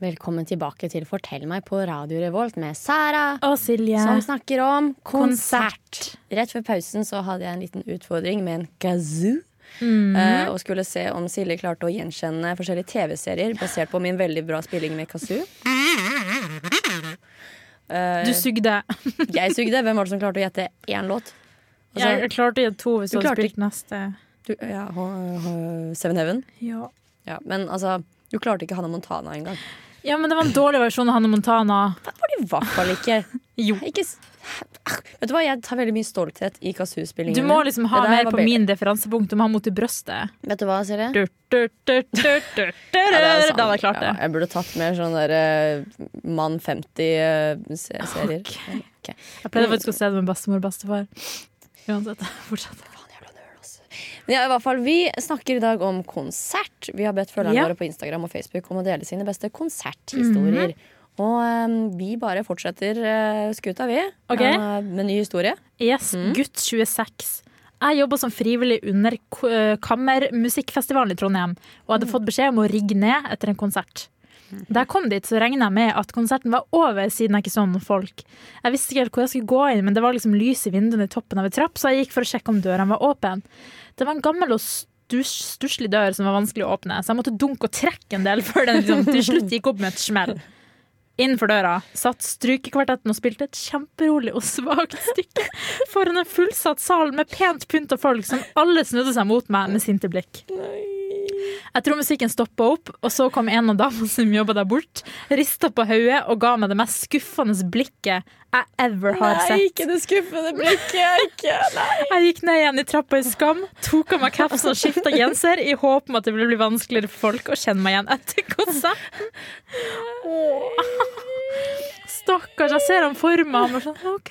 S1: Velkommen tilbake til Fortell meg på Radio Revolt med Sara,
S2: Å, Silje.
S1: som snakker om konsert.
S2: Konsert.
S1: Rett før pausen så hadde jeg en liten utfordring med en kazoo.
S6: Mhm.
S1: eh, Og skulle se om Silje klarte å gjenkjenne forskjellige TV-serier basert på min veldig bra spilling med kazoo. Eh,
S2: Du sugde.
S1: jeg sugde. Hvem var det som klarte å gjette én låt? Altså,
S2: Jeg, jeg klarte å gi to hvis
S1: Du
S2: du hadde
S1: klarte
S2: spilt neste.
S1: du, ja, h- h- Seven Heaven.
S2: Ja.
S1: Ja, men altså, du klarte ikke Hanna Montana engang.
S2: ja, men det var en dårlig versjon av Hanne Montana.
S1: Det var det i hvert fall ikke.
S2: Jo.
S1: ikke s- Vet du hva, jeg tar veldig mye stolthet i kazoo-spillingen.
S2: Du må
S1: min.
S2: liksom ha
S1: Det der
S2: mer
S1: var
S2: på
S1: bedre.
S2: min referansepunkt. Du må ha mot i brøstet.
S1: Vet du hva, Silje?
S2: Du, du, du, du, du, du, du.
S1: Ja, det er sant.
S2: Da hadde jeg klart
S1: Ja,
S2: det.
S1: jeg burde tatt mer sånn der eh, Mann eh,
S2: Ah,
S1: 50-serier.
S2: Jeg pleide faktisk å se det med bestemor og bestefar. Uansett, fortsett.
S1: altså. Men ja, i hvert fall, Vi snakker i dag om konsert. Vi har bedt følgerne
S2: Ja.
S1: våre på Instagram og Facebook om å dele sine beste
S2: Mhm.
S1: konserthistorier. Og eh, vi bare fortsetter eh, skuta, vi,
S2: Ok.
S1: eh, med ny historie.
S2: Yes, gutt 26. Jeg jobba som frivillig under K- eh, Kammermusikkfestivalen i Trondheim, og hadde fått beskjed om å rigge ned etter en konsert. Da jeg kom dit, så regna jeg med at konserten var over, siden jeg ikke så noen folk. Jeg visste ikke helt hvor jeg skulle gå inn, men det var liksom lys i vinduene i toppen av en trapp, så jeg gikk for å sjekke om dørene var åpen. Det var en gammel og stus, stusslig dør som var vanskelig å åpne, så jeg måtte dunke og trekke en del før den liksom, til slutt gikk opp med et smell. Innenfor døra satt strykekvartetten og spilte et kjemperolig og svakt stykke foran en fullsatt sal med pent pynt av folk som alle snudde seg mot meg med sinte blikk. Jeg tror musikken stoppa opp, og så kom en av damene som jobba der bort, rista på hodet og ga meg det mest skuffende blikket jeg ever har sett.
S1: det skuffende blikket! Ikke.
S2: Jeg gikk ned igjen i trappa i skam, tok av meg kapsen og skifta genser i håp om at det ville bli vanskeligere for folk å kjenne meg igjen etter konserten. Stakkars, jeg ser han for meg. Han var sånn, ok.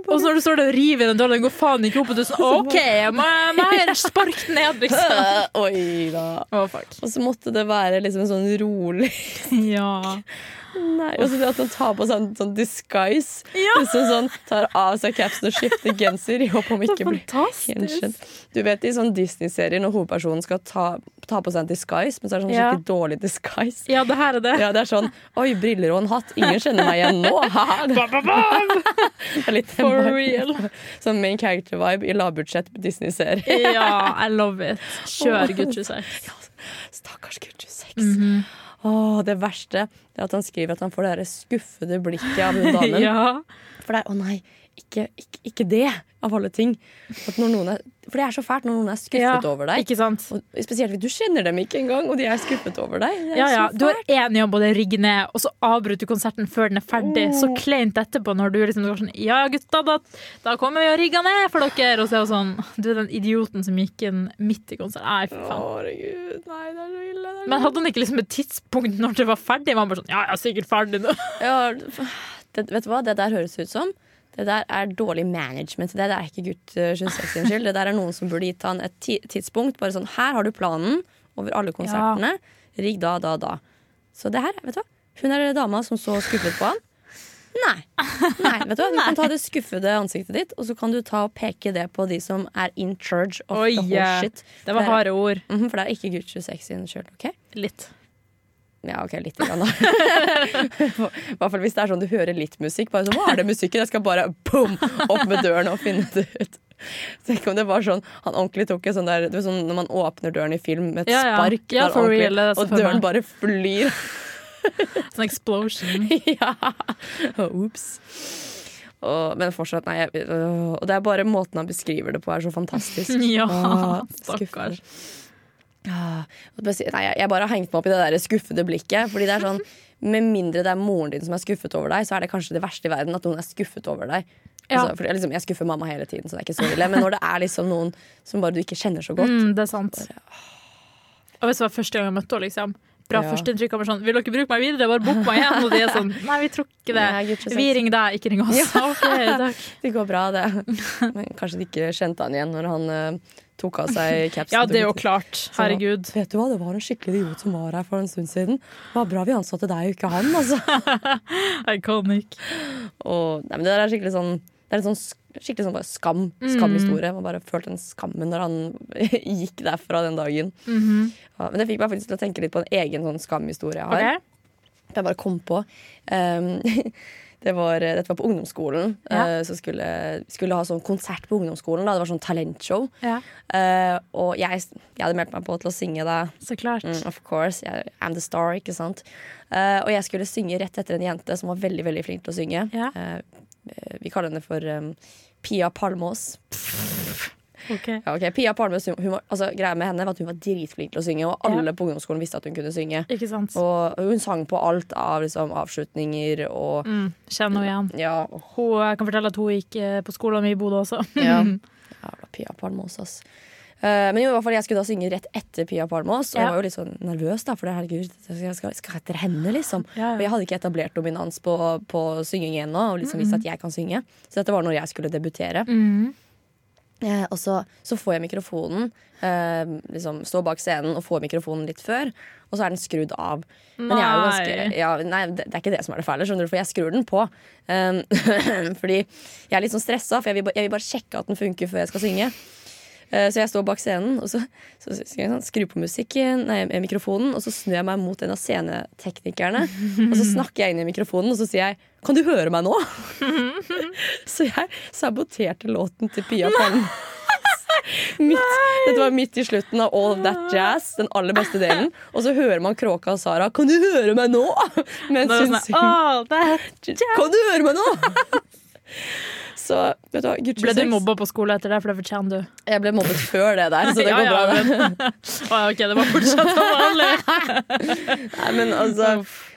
S2: Og så når du står der og river i den døren, den går faen ikke opp, og du er sånn OK, jeg må jeg må ha spark den ned, liksom.
S1: Oi da.
S2: Å, fuck.
S1: Og så måtte det være liksom en sånn rolig
S2: Ja.
S1: Nei, og så det at han tar på seg en sånn disguise.
S2: Ja.
S1: Liksom sånn, tar av seg capsen og skifter genser i håp om
S2: Det er
S1: ikke å bli
S2: fantastisk.
S1: gjenkjent. Du vet i sånn Disney-serier når hovedpersonen skal ta, ta på seg en disguise, men så er det sånn
S2: Ja.
S1: skikkelig dårlig disguise.
S2: Ja, det her er det.
S1: Ja, det er sånn Oi, briller og en hatt. Ingen kjenner meg igjen nå. Haha. Det er litt den
S2: For
S1: viben.
S2: real.
S1: Sånn main character-vibe i lavbudsjett Disney-serie.
S2: Ja, I love it. Kjør, gutt 26.
S1: Stakkars gutt 26.
S2: Mhm.
S1: Åh, det verste er at han skriver at han får det her skuffede blikket av hun damen.
S2: Ja.
S1: For det er, å nei, ikke, ikke, ikke det, av alle ting. At når noen er, for det er så fælt når noen er skuffet over deg.
S2: Ikke sant?
S1: Og spesielt hvis du kjenner dem ikke engang, og de er skuffet over deg. Det er
S2: Ja, ja.
S1: så
S2: Du har
S1: fælt.
S2: én jobb, og det er å rigge ned, og så avbryter du konserten før den er ferdig. Så kleint etterpå når du liksom går sånn Ja, gutta, da, da kommer vi og rigger ned for dere. Og så er det sånn Du er den idioten som gikk inn midt i konserten. Nei, fy faen.
S1: Herregud, nei, det er så ille. det er så-
S2: Men hadde han ikke liksom et tidspunkt når det var ferdig? Var han bare sånn Ja, jeg er sikkert ferdig nå.
S1: Ja, det, vet du hva det der høres ut som? Det der er dårlig management. Det der er ikke gutt eh, 26 sin skyld. Det der er noen som burde gitt han et ti tidspunkt. Bare sånn, her har du planen over alle konsertene. Rigg da, da, da. Så det her, vet du hva? Hun er den dama som så skuffet på han. Nei. Nei, vet du hva? Du kan ta det skuffede ansiktet ditt, og så kan du ta og peke det på de som er in charge of
S2: Oi,
S1: the whole
S2: eh,
S1: shit.
S2: Det var harde ord.
S1: Mhm, for det er ikke gutt 26 sin skyld, OK?
S2: Litt.
S1: Ja, ok, litt grann da. I hvert fall hvis det er sånn du hører litt musikk. Bare sånn, Hva er det musikken? Jeg skal bare boom, opp med døren og finne det ut. Tenk om det var sånn han ordentlig tok en sånn der du vet sånn når man åpner døren i film med et
S2: Ja, ja.
S1: spark,
S2: Ja,
S1: der
S2: for
S1: ordentlig,
S2: real, det er så
S1: og
S2: for meg.
S1: døren bare flyr.
S2: Sånn explosion.
S1: ja. Ops. Og, men fortsatt, nei. Jeg, øh, og det er bare måten han beskriver det på, er så fantastisk.
S2: Ja,
S1: Åh, skuffende.
S2: stakkars.
S1: Ah, og spesi- Nei, jeg- jeg bare har hengt meg opp i det der skuffede blikket. Fordi det er sånn, Med mindre det er moren din som er skuffet over deg, så er det kanskje det verste i verden at noen er skuffet over deg.
S2: Ja.
S1: Altså, fordi jeg liksom, jeg skuffer mamma hele tiden, så det er ikke så ille. Men når det er liksom noen som bare du ikke kjenner så godt
S2: Mm, det er sant. Og hvis det var første gang jeg møtte henne, liksom. Bra
S1: Ja.
S2: førsteinntrykk. han var Sånn, 'Vil dere bruke meg videre? Bare bok meg igjen.' Og de er sånn 'Nei, vi tror ikke det.
S1: Nei, gutt, det er
S2: vi
S1: sant.»
S2: ringer deg, ikke ring oss.' Ok, takk.
S1: Det går bra, det. Men kanskje de ikke kjente han igjen når han eh, tok av seg capsen.
S2: Ja, det er jo klart. Herregud.
S1: Vet du hva, det var en skikkelig idiot som var her for en stund siden. Det var bra vi ansatte deg og ikke han, altså.
S2: Iconic.
S1: Og, nei, men det der er skikkelig sånn det er en sånn, sk- skikkelig sånn bare skam. Skamhistorie. Man bare følte den skammen når han gikk derfra den dagen. ja, men det fikk meg faktisk til å tenke litt på en egen sånn skamhistorie jeg har.
S2: Ok?
S1: Jeg bare kom på. Um, det var, dette var på ungdomsskolen.
S2: Ja.
S1: eh, så skulle, skulle ha sånn konsert på ungdomsskolen. Da. Det var sånn talentshow.
S2: Ja,
S1: Eh, og jeg, jeg hadde meldt meg på til å synge da
S2: så klart.
S1: Mm, of course, jeg, I'm the star, ikke sant? Eh, og jeg skulle synge rett etter en jente som var veldig veldig flink til å synge.
S2: Ja.
S1: Eh, eh, vi kaller henne for eh, Pia Palmås.
S2: Ok.
S1: Ja, ok, Pia Palmås, hun, hun var, altså, Greia med henne var at hun var dritflink til å synge, og
S2: Ja.
S1: alle på ungdomsskolen visste at hun kunne synge.
S2: Ikke sant.
S1: Og hun sang på alt av liksom, avslutninger og
S2: Mm, Kjenner henne igjen.
S1: Ja,
S2: Hun, jeg kan fortelle at hun gikk eh, på skolen min i Bodø også.
S1: Ja. Jævla Pia Palmås, ass. Eh, men jo, i hvert fall, jeg skulle da synge rett etter Pia Palmås, og
S2: Ja.
S1: jeg var jo litt sånn nervøs, da, for det, herregud, jeg skal, skal etter henne, liksom.
S2: Ja, ja.
S1: Og jeg hadde ikke etablert dominans på, på synging ennå, og liksom visst at jeg kan synge. Så dette var når jeg skulle debutere. Eh, og så, så får jeg mikrofonen, eh, liksom står bak scenen og får mikrofonen litt før, og så er den skrudd av. Men jeg er jo ganske
S2: Nei.
S1: ja, Nei, det, det er ikke det som er det fæle, skjønner du, for jeg skrur den på. Um, fordi jeg er litt sånn stressa, for jeg vil, ba- jeg vil bare sjekke at den funker før jeg skal synge. Eh, Så jeg står bak scenen og så, så, så, skal jeg sånn, skru på musikken, nei, eh, mikrofonen, og så snur jeg meg mot en av sceneteknikerne. Og så snakker jeg inn i mikrofonen og så sier jeg 'Kan du høre meg nå?' så jeg saboterte låten til Pia Palm. Midt, dette var midt i slutten av All of That Jazz, den aller beste delen. Og så hører man Kråka og Sara 'Kan du høre meg nå?' mens
S2: Da er
S1: hun
S2: det sånn,
S1: synger.
S2: «Åh, det er-
S1: Kan du høre meg nå?! Så vet du hva, Gucci
S2: Ble du
S1: sex.
S2: mobba på skolen etter det, for det fortjener du.
S1: Jeg ble mobbet før det der, så det
S2: Ja,
S1: går bra.
S2: ja,
S1: det.
S2: men- Åh, ok, det var fortsatt som vanlig.
S1: Nei, men altså,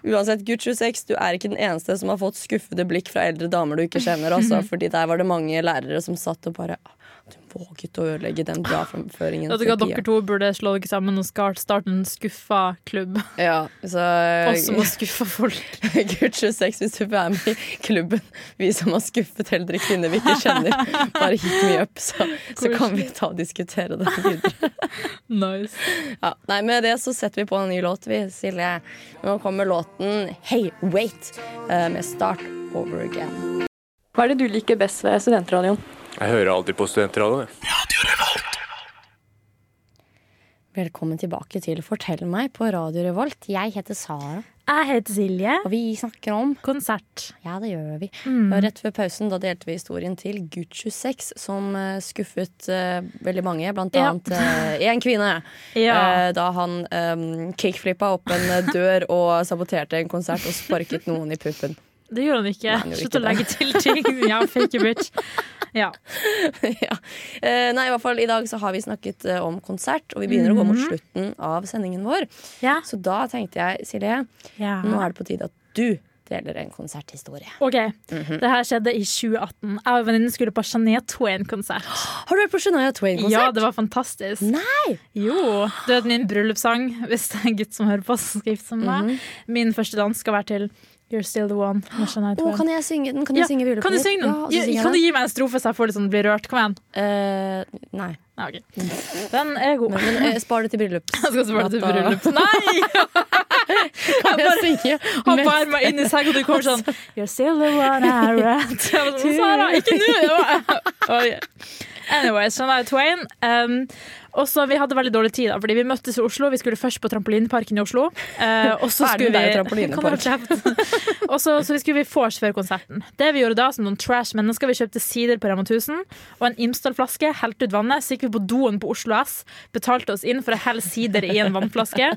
S1: uansett, Gucci 6, du er ikke den eneste som har fått skuffede blikk fra eldre damer du ikke kjenner. Altså, fordi der var det mange lærere som satt og bare "Ah, Du våget å ødelegge den bra framføringen.
S2: Vet du hva,
S1: til
S2: dere
S1: Pia».
S2: to burde slå dere sammen og skart- starte en skuffa klubb.
S1: Ja, så
S2: Oss som har skuffa folk.
S1: Gucci 6, hvis du vil være med i klubben Vi som har skuffet eldre kvinner vi ikke kjenner, bare hit me up, så, så kan vi ta og diskutere det videre.
S2: Nice.
S1: Ja, nei, med det så setter vi på en ny låt, vi, Silje. Nå kommer låten Hey Wait eh, med Start Over Again.
S7: Hva er det du liker best ved studentradioen?
S8: Jeg hører alltid på studentradioen. jeg.
S1: Velkommen tilbake til Fortell meg på Radio Revolt. Jeg heter Sara,
S2: Jeg heter Silje.
S1: og vi snakker om
S2: Konsert.
S1: Ja, det gjør vi.
S2: Mm.
S1: Og Rett før pausen da delte vi historien til Gucci 6, som eh, skuffet eh, veldig mange, blant
S2: Ja.
S1: annet én kvinne,
S2: Ja.
S1: eh, da han um, kickflippa opp en eh, dør og saboterte en konsert og sparket noen i puppen.
S2: Det gjør han ikke.
S1: han gjorde
S2: Slutt
S1: ikke
S2: å legge til ting. Ja, fake a bitch. Ja.
S1: ja. Eh, nei, i hvert fall i dag så har vi snakket eh, om konsert, og vi begynner å gå
S2: Mm-hmm.
S1: mot slutten av sendingen vår.
S2: Ja.
S1: Så da tenkte jeg, Silje,
S2: ja.
S1: nå er det på tide at du deler en konserthistorie.
S2: OK.
S1: Mhm.
S2: Det her skjedde i 2018. Jeg og venninnen skulle på Shania Twain-konsert.
S1: Har du vært på Shania Twain-konsert?
S2: Ja, det var fantastisk.
S1: Nei!
S2: Jo. Døden min bryllupssang, hvis det er en gutt som hører på, som skal gifte seg med meg. Min første dans skal være til You're Still The One med Shania
S1: Mhm. Å,
S2: Twain.
S1: kan jeg synge den? Kan jeg
S2: Ja,
S1: synge bryllupet
S2: kan du
S1: ditt?
S2: synge den?
S1: Ja, og så
S2: Ja,
S1: synger jeg
S2: kan du
S1: den.
S2: gi meg en strofe så jeg får litt sånn blir rørt? Kom igjen.
S1: Eh, nei.
S2: Nei, ok. Den er god.
S1: Men, men eh, spar det til bryllups.
S2: Jeg skal svare til
S1: Natta.
S2: bryllup. Nei!
S1: Kan
S2: Jeg
S1: jeg
S2: bare-
S1: synge?
S2: Han
S1: mens-
S2: bærer meg inn i senga, og du kommer sånn You're still the one I read. Sara, ikke nå! Det var- Oi. Anyway, sånn er Twain. Um, og så Vi hadde veldig dårlig tid, da, fordi vi møttes i Oslo. Vi skulle først på trampolineparken i Oslo. eh, og så
S1: Verden,
S2: skulle
S1: det er jo
S2: vi
S1: trampolinepark.
S2: Kan du holde kjeft? Og så, så vi skulle vi vors før konserten. Det vi gjorde da, som noen trash mennesker, vi kjøpte sider på Rema 1000 og en Imsdal-flaske, helte ut vannet, så gikk vi på doen på Oslo S, betalte oss inn for å helle sider i en vannflaske.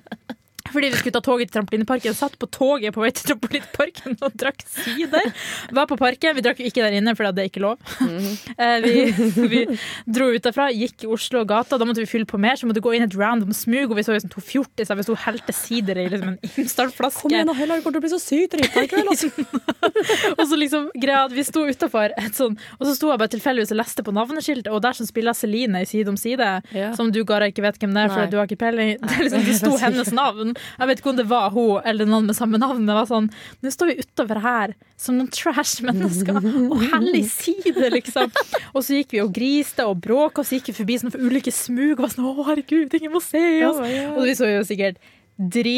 S2: Fordi vi skulle ta toget til trampolineparken. Satt på toget på vei til trampolineparken og drakk sider. Var på parken. Vi drakk jo ikke der inne, for det er ikke lov.
S1: Mhm.
S2: Eh, Vi, vi dro ut derfra, gikk i Oslo og gata. Da måtte vi fylle på mer, så vi måtte gå inn i et random smug, og vi så liksom to fjortiser. Vi sto og helte sider i liksom en
S1: Kom
S2: Imsdal-flaske.
S1: igjen, da, Hella, du kommer til å bli så sykt drita i kveld! Altså.
S2: Og så liksom greia at vi sto utafor et sånn, og så sto jeg bare tilfeldigvis og leste på navneskiltet, og der som spiller Celine i Side om side,
S1: Ja.
S2: som du Gara ikke vet hvem det er,
S1: Nei.
S2: for du har ikke peiling, det, er liksom, det sto hennes navn. Jeg vet ikke om det var hun eller noen med samme navn, men det var sånn Nå står vi utafor her som noen trash mennesker og heller i side, liksom. Og så gikk vi og griste og bråka, og så gikk vi forbi sånne ulike smug og var sånn Å, herregud, ingen må se oss. Og vi så jo sikkert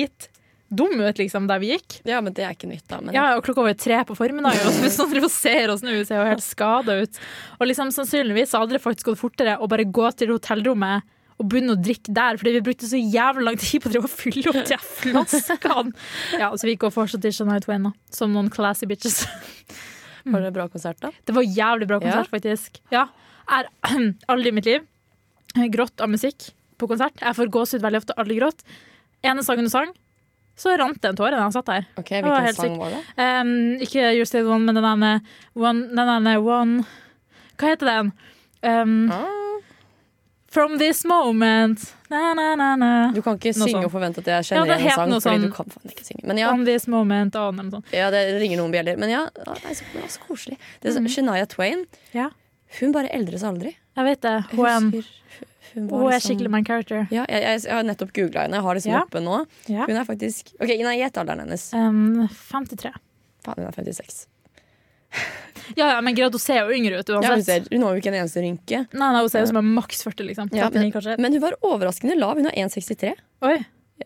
S2: dritdumme ut, liksom, der vi gikk.
S1: Ja, men det er ikke nytt, da. Men
S2: Ja, og klokka var jo tre på formiddagen, og så hvis noen driver og ser oss nå, vi ser jo helt skada ut. Og liksom sannsynligvis så hadde det faktisk gått fortere å bare gå til hotellrommet og begynne å drikke der, fordi vi brukte så jævlig lang tid på å drive og fylle opp de her flaskene. Ja, så vi gikk og fortsatt til Shania Twain, da, som noen classy bitches.
S1: Var det en bra konsert, da?
S2: Det var jævlig bra konsert, faktisk. Ja. Jeg har aldri i mitt liv grått av musikk på konsert. Jeg får gåsehud veldig ofte, aldri grått. Ene sangen du sang, så rant det en tåre da jeg satt der.
S1: Ok,
S2: Det var
S1: Hvilken
S2: helt
S1: sang
S2: sykt.
S1: var det?
S2: Um, ikke Your State One, men den ene One, den ene one Hva heter den? Um, From This Moment na, na, na, na.
S1: Du kan ikke
S2: Noe
S1: synge
S2: sånn.
S1: og forvente at jeg
S2: Ja,
S1: kjenner
S2: det
S1: igjen en
S2: het
S1: sang,
S2: noe
S1: fordi
S2: sånn-
S1: du kan faen ikke synge. Men ja,
S2: From This Moment on, eller noe sånt.
S1: ja, det ringer noen bjeller. Men ja, ja, nei, så, men så koselig. Det er så, Shania Twain
S2: Mm. Ja.
S1: hun bare eldres aldri.
S2: Jeg vet det.
S1: Jeg
S2: Hun er, en-
S1: husker hun var
S2: hun er
S1: liksom-
S2: skikkelig my character.
S1: ja, jeg, jeg, jeg har nettopp googla henne. Jeg har det liksom
S2: Ja.
S1: oppe nå.
S2: Ja.
S1: Hun er faktisk Ok, nei, Gjett alderen hennes.
S2: Um, 53.
S1: Faen, hun er 56.
S2: Ja, ja, men greit, hun ser jo yngre ut
S1: Ja, Altså, hun,
S2: uansett.
S1: ser, hun har jo ikke en eneste rynke.
S2: Nei, nei, hun ser ut som en maks 40, liksom.
S1: Ja,
S2: 39, kanskje.
S1: Men hun var overraskende lav. Hun har 1,63.
S2: Oi,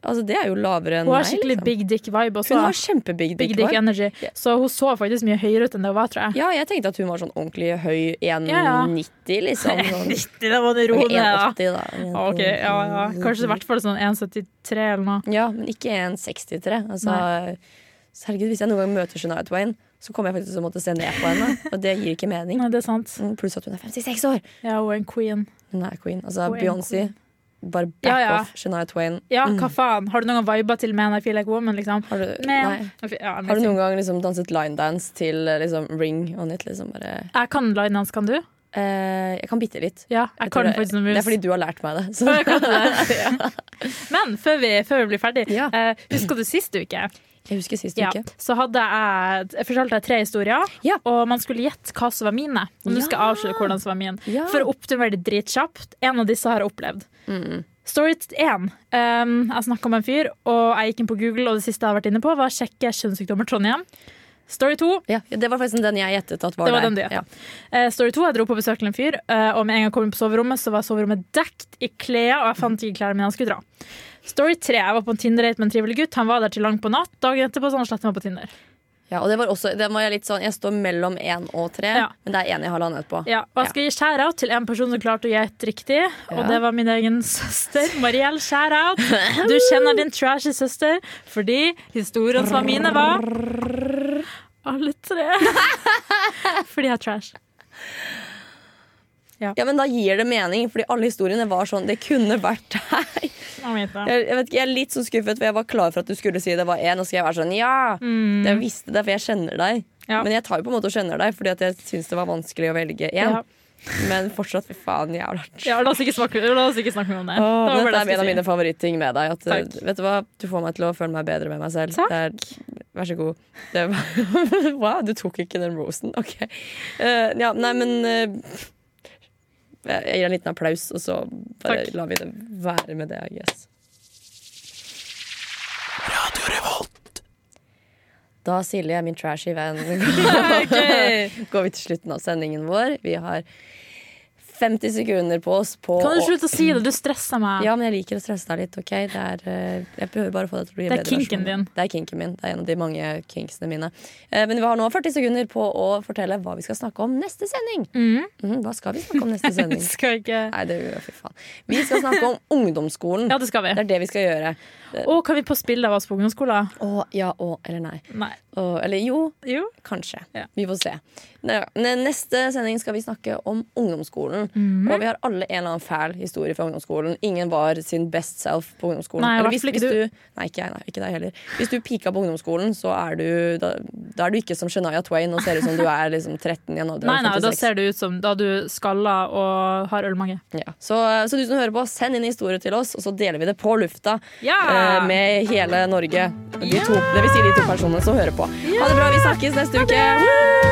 S1: Altså, det er jo lavere enn
S2: hun har
S1: meg,
S2: skikkelig
S1: liksom.
S2: big dick-vibe også.
S1: Hun har kjempebig
S2: Big
S1: dick.
S2: dick
S1: vibe.
S2: energy. Så hun så faktisk mye høyere ut enn det hun var, tror jeg.
S1: Ja, jeg tenkte at hun var sånn ordentlig høy 1,90,
S2: Ja, ja.
S1: liksom. Sånn.
S2: 90, det var det
S1: Ok,
S2: roende, ja.
S1: 1,80, da.
S2: Ja, Ah, Ok, ja, ja. Kanskje i hvert fall sånn 1,73 eller noe.
S1: Ja, men ikke 1,63. Altså, så herregud, hvis jeg noen gang møter Shania Twain, så kommer jeg faktisk til å måtte se ned på henne. Og det gir ikke mening.
S2: Nei, det er sant.
S1: Mm, Pluss at hun er 56 år!
S2: Ja, hun er en queen.
S1: Hun er queen. Altså,
S2: Hun er en
S1: Beyoncé,
S2: queen.
S1: bare back
S2: Ja, ja.
S1: off Shania Twain. Mm.
S2: Ja, hva faen? Har du noen gang viba til Man I Feel Like Woman, liksom?
S1: Har du,
S2: Men,
S1: nei.
S2: ja,
S1: Har du noen gang liksom danset linedance til eh, liksom, Ring on it? Liksom bare,
S2: Jeg kan line dance, kan du?
S1: eh, jeg kan bitte litt.
S2: Ja, jeg,
S1: Jeg tror
S2: kan
S1: det,
S2: faktisk noen
S1: det er
S2: moves.
S1: fordi du har lært meg det. Så.
S2: Ja, jeg kan det. Men før vi, før vi blir ferdig,
S1: Ja.
S2: eh, husker du sist uke?
S1: Jeg husker sist
S2: Ja,
S1: uke.
S2: så hadde jeg, jeg fortalte jeg tre historier,
S1: Ja.
S2: og man skulle gjette hva som var mine. Og nå skal jeg avsløre hvordan som var min.
S1: Ja.
S2: For å oppsummere det dritkjapt, en av disse har jeg opplevd.
S1: Mm.
S2: Story 1. Um, jeg snakka med en fyr, og jeg gikk inn på Google, og det siste jeg har vært inne på, var å sjekke kjønnssykdommer Trondheim. Story 2.
S1: Ja, ja, det var faktisk den jeg gjettet at var,
S2: Det var
S1: deg.
S2: den du gjettet.
S1: Ja.
S2: Eh, story 2. Jeg dro på besøk til en fyr, eh, og med en gang jeg kom inn på soverommet, så var soverommet dekt i klær, og jeg fant ikke klærne mine jeg skulle dra. Story 3. Jeg var på en Tinder-date med en trivelig gutt. Han var der til langt på natt. Dagen etterpå så han slettet meg på Tinder.
S1: Ja, og det var også, det var jeg litt sånn, jeg står mellom én og tre,
S2: Ja.
S1: men det er én jeg har landet på.
S2: Ja, og jeg skal gi shout-out til en person som klarte å gjette riktig, og det var min egen søster. Mariell, shout-out. Du kjenner din trashy søster fordi historien som var mine, var alle tre. Fordi jeg er trash.
S1: Ja, men da gir det mening, fordi alle historiene var sånn. Det kunne vært deg.
S2: Jeg vet det.
S1: Jeg, jeg vet ikke, jeg er litt sånn skuffet, for jeg var klar for at du skulle si det var én, og så skal jeg være sånn ja! Jeg visste det, for jeg kjenner deg.
S2: Mm. Ja.
S1: Men jeg tar jo på en måte og kjenner deg, fordi at jeg syns det var vanskelig å velge én.
S2: Ja.
S1: Men fortsatt, fy faen, jævla
S2: Ja, la oss ikke snakke, la oss ikke snakke mer om det.
S1: Åh,
S2: Det var
S1: men
S2: bare
S1: Dette er
S2: det
S1: en
S2: jeg
S1: av
S2: skulle
S1: mine
S2: si.
S1: favorittting med deg. At, eh,
S2: Takk.
S1: vet du hva? Du får meg til å føle meg bedre med meg selv.
S2: Takk.
S1: Det er, vær så god. Det var, wow, du tok ikke den rosen. Ok. Eh, ja, nei, men eh, Jeg gir en liten applaus, og så bare
S2: Takk.
S1: lar vi det være med det, I guess. Da, Silje, min trashy venn,
S2: Ok.
S1: går vi til slutten av sendingen vår. Vi har 50 sekunder på oss på
S2: Kan du
S1: å-
S2: slutte å si det? Du stresser meg.
S1: ja, men jeg liker å stresse deg litt. ok? Det er, eh, jeg prøver bare å få deg til å bli en
S2: Det er
S1: bedre
S2: kinken
S1: versjon.
S2: din.
S1: Det er kinken min. Det er en av de mange kinksene mine. Eh, men vi har nå 40 sekunder på å fortelle hva vi skal snakke om neste sending. Mhm, hva skal vi snakke om neste sending?
S2: Mm. Skal ikke
S1: Nei, det er jo fy faen. Vi skal snakke om ungdomsskolen.
S2: Ja, det skal
S1: Det
S2: vi.
S1: er det vi skal gjøre.
S2: Å, kan vi poste bilde av oss på ungdomsskolen?
S1: Å, ja, å, eller nei.
S2: Nei.
S1: Å, eller jo,
S2: Jo.
S1: kanskje.
S2: Ja.
S1: Vi får se. Nei, ja. Neste sending skal vi snakke om ungdomsskolen.
S2: Mhm.
S1: Og vi har alle en eller annen fæl historie fra ungdomsskolen. Ingen var sin best self på ungdomsskolen.
S2: Nei, i
S1: Eller
S2: hvert
S1: hvis,
S2: fall ikke
S1: hvis du. Nei, ikke jeg. Nei, ikke deg heller. Hvis du pika på ungdomsskolen, så er du, da, da er du ikke som Shania Twain og ser ut som du er liksom 13 igjen. Og du er
S2: Nei, nei, da
S1: 56.
S2: ser det ut som da du skaller og har ølmage.
S1: Ja. Så, så du som hører på, send inn historier til oss, og så deler vi det på lufta
S2: Ja!
S1: eh, med hele Norge. De to, det vil si de to personene som hører på. Ha det bra, vi snakkes neste uke! Woo!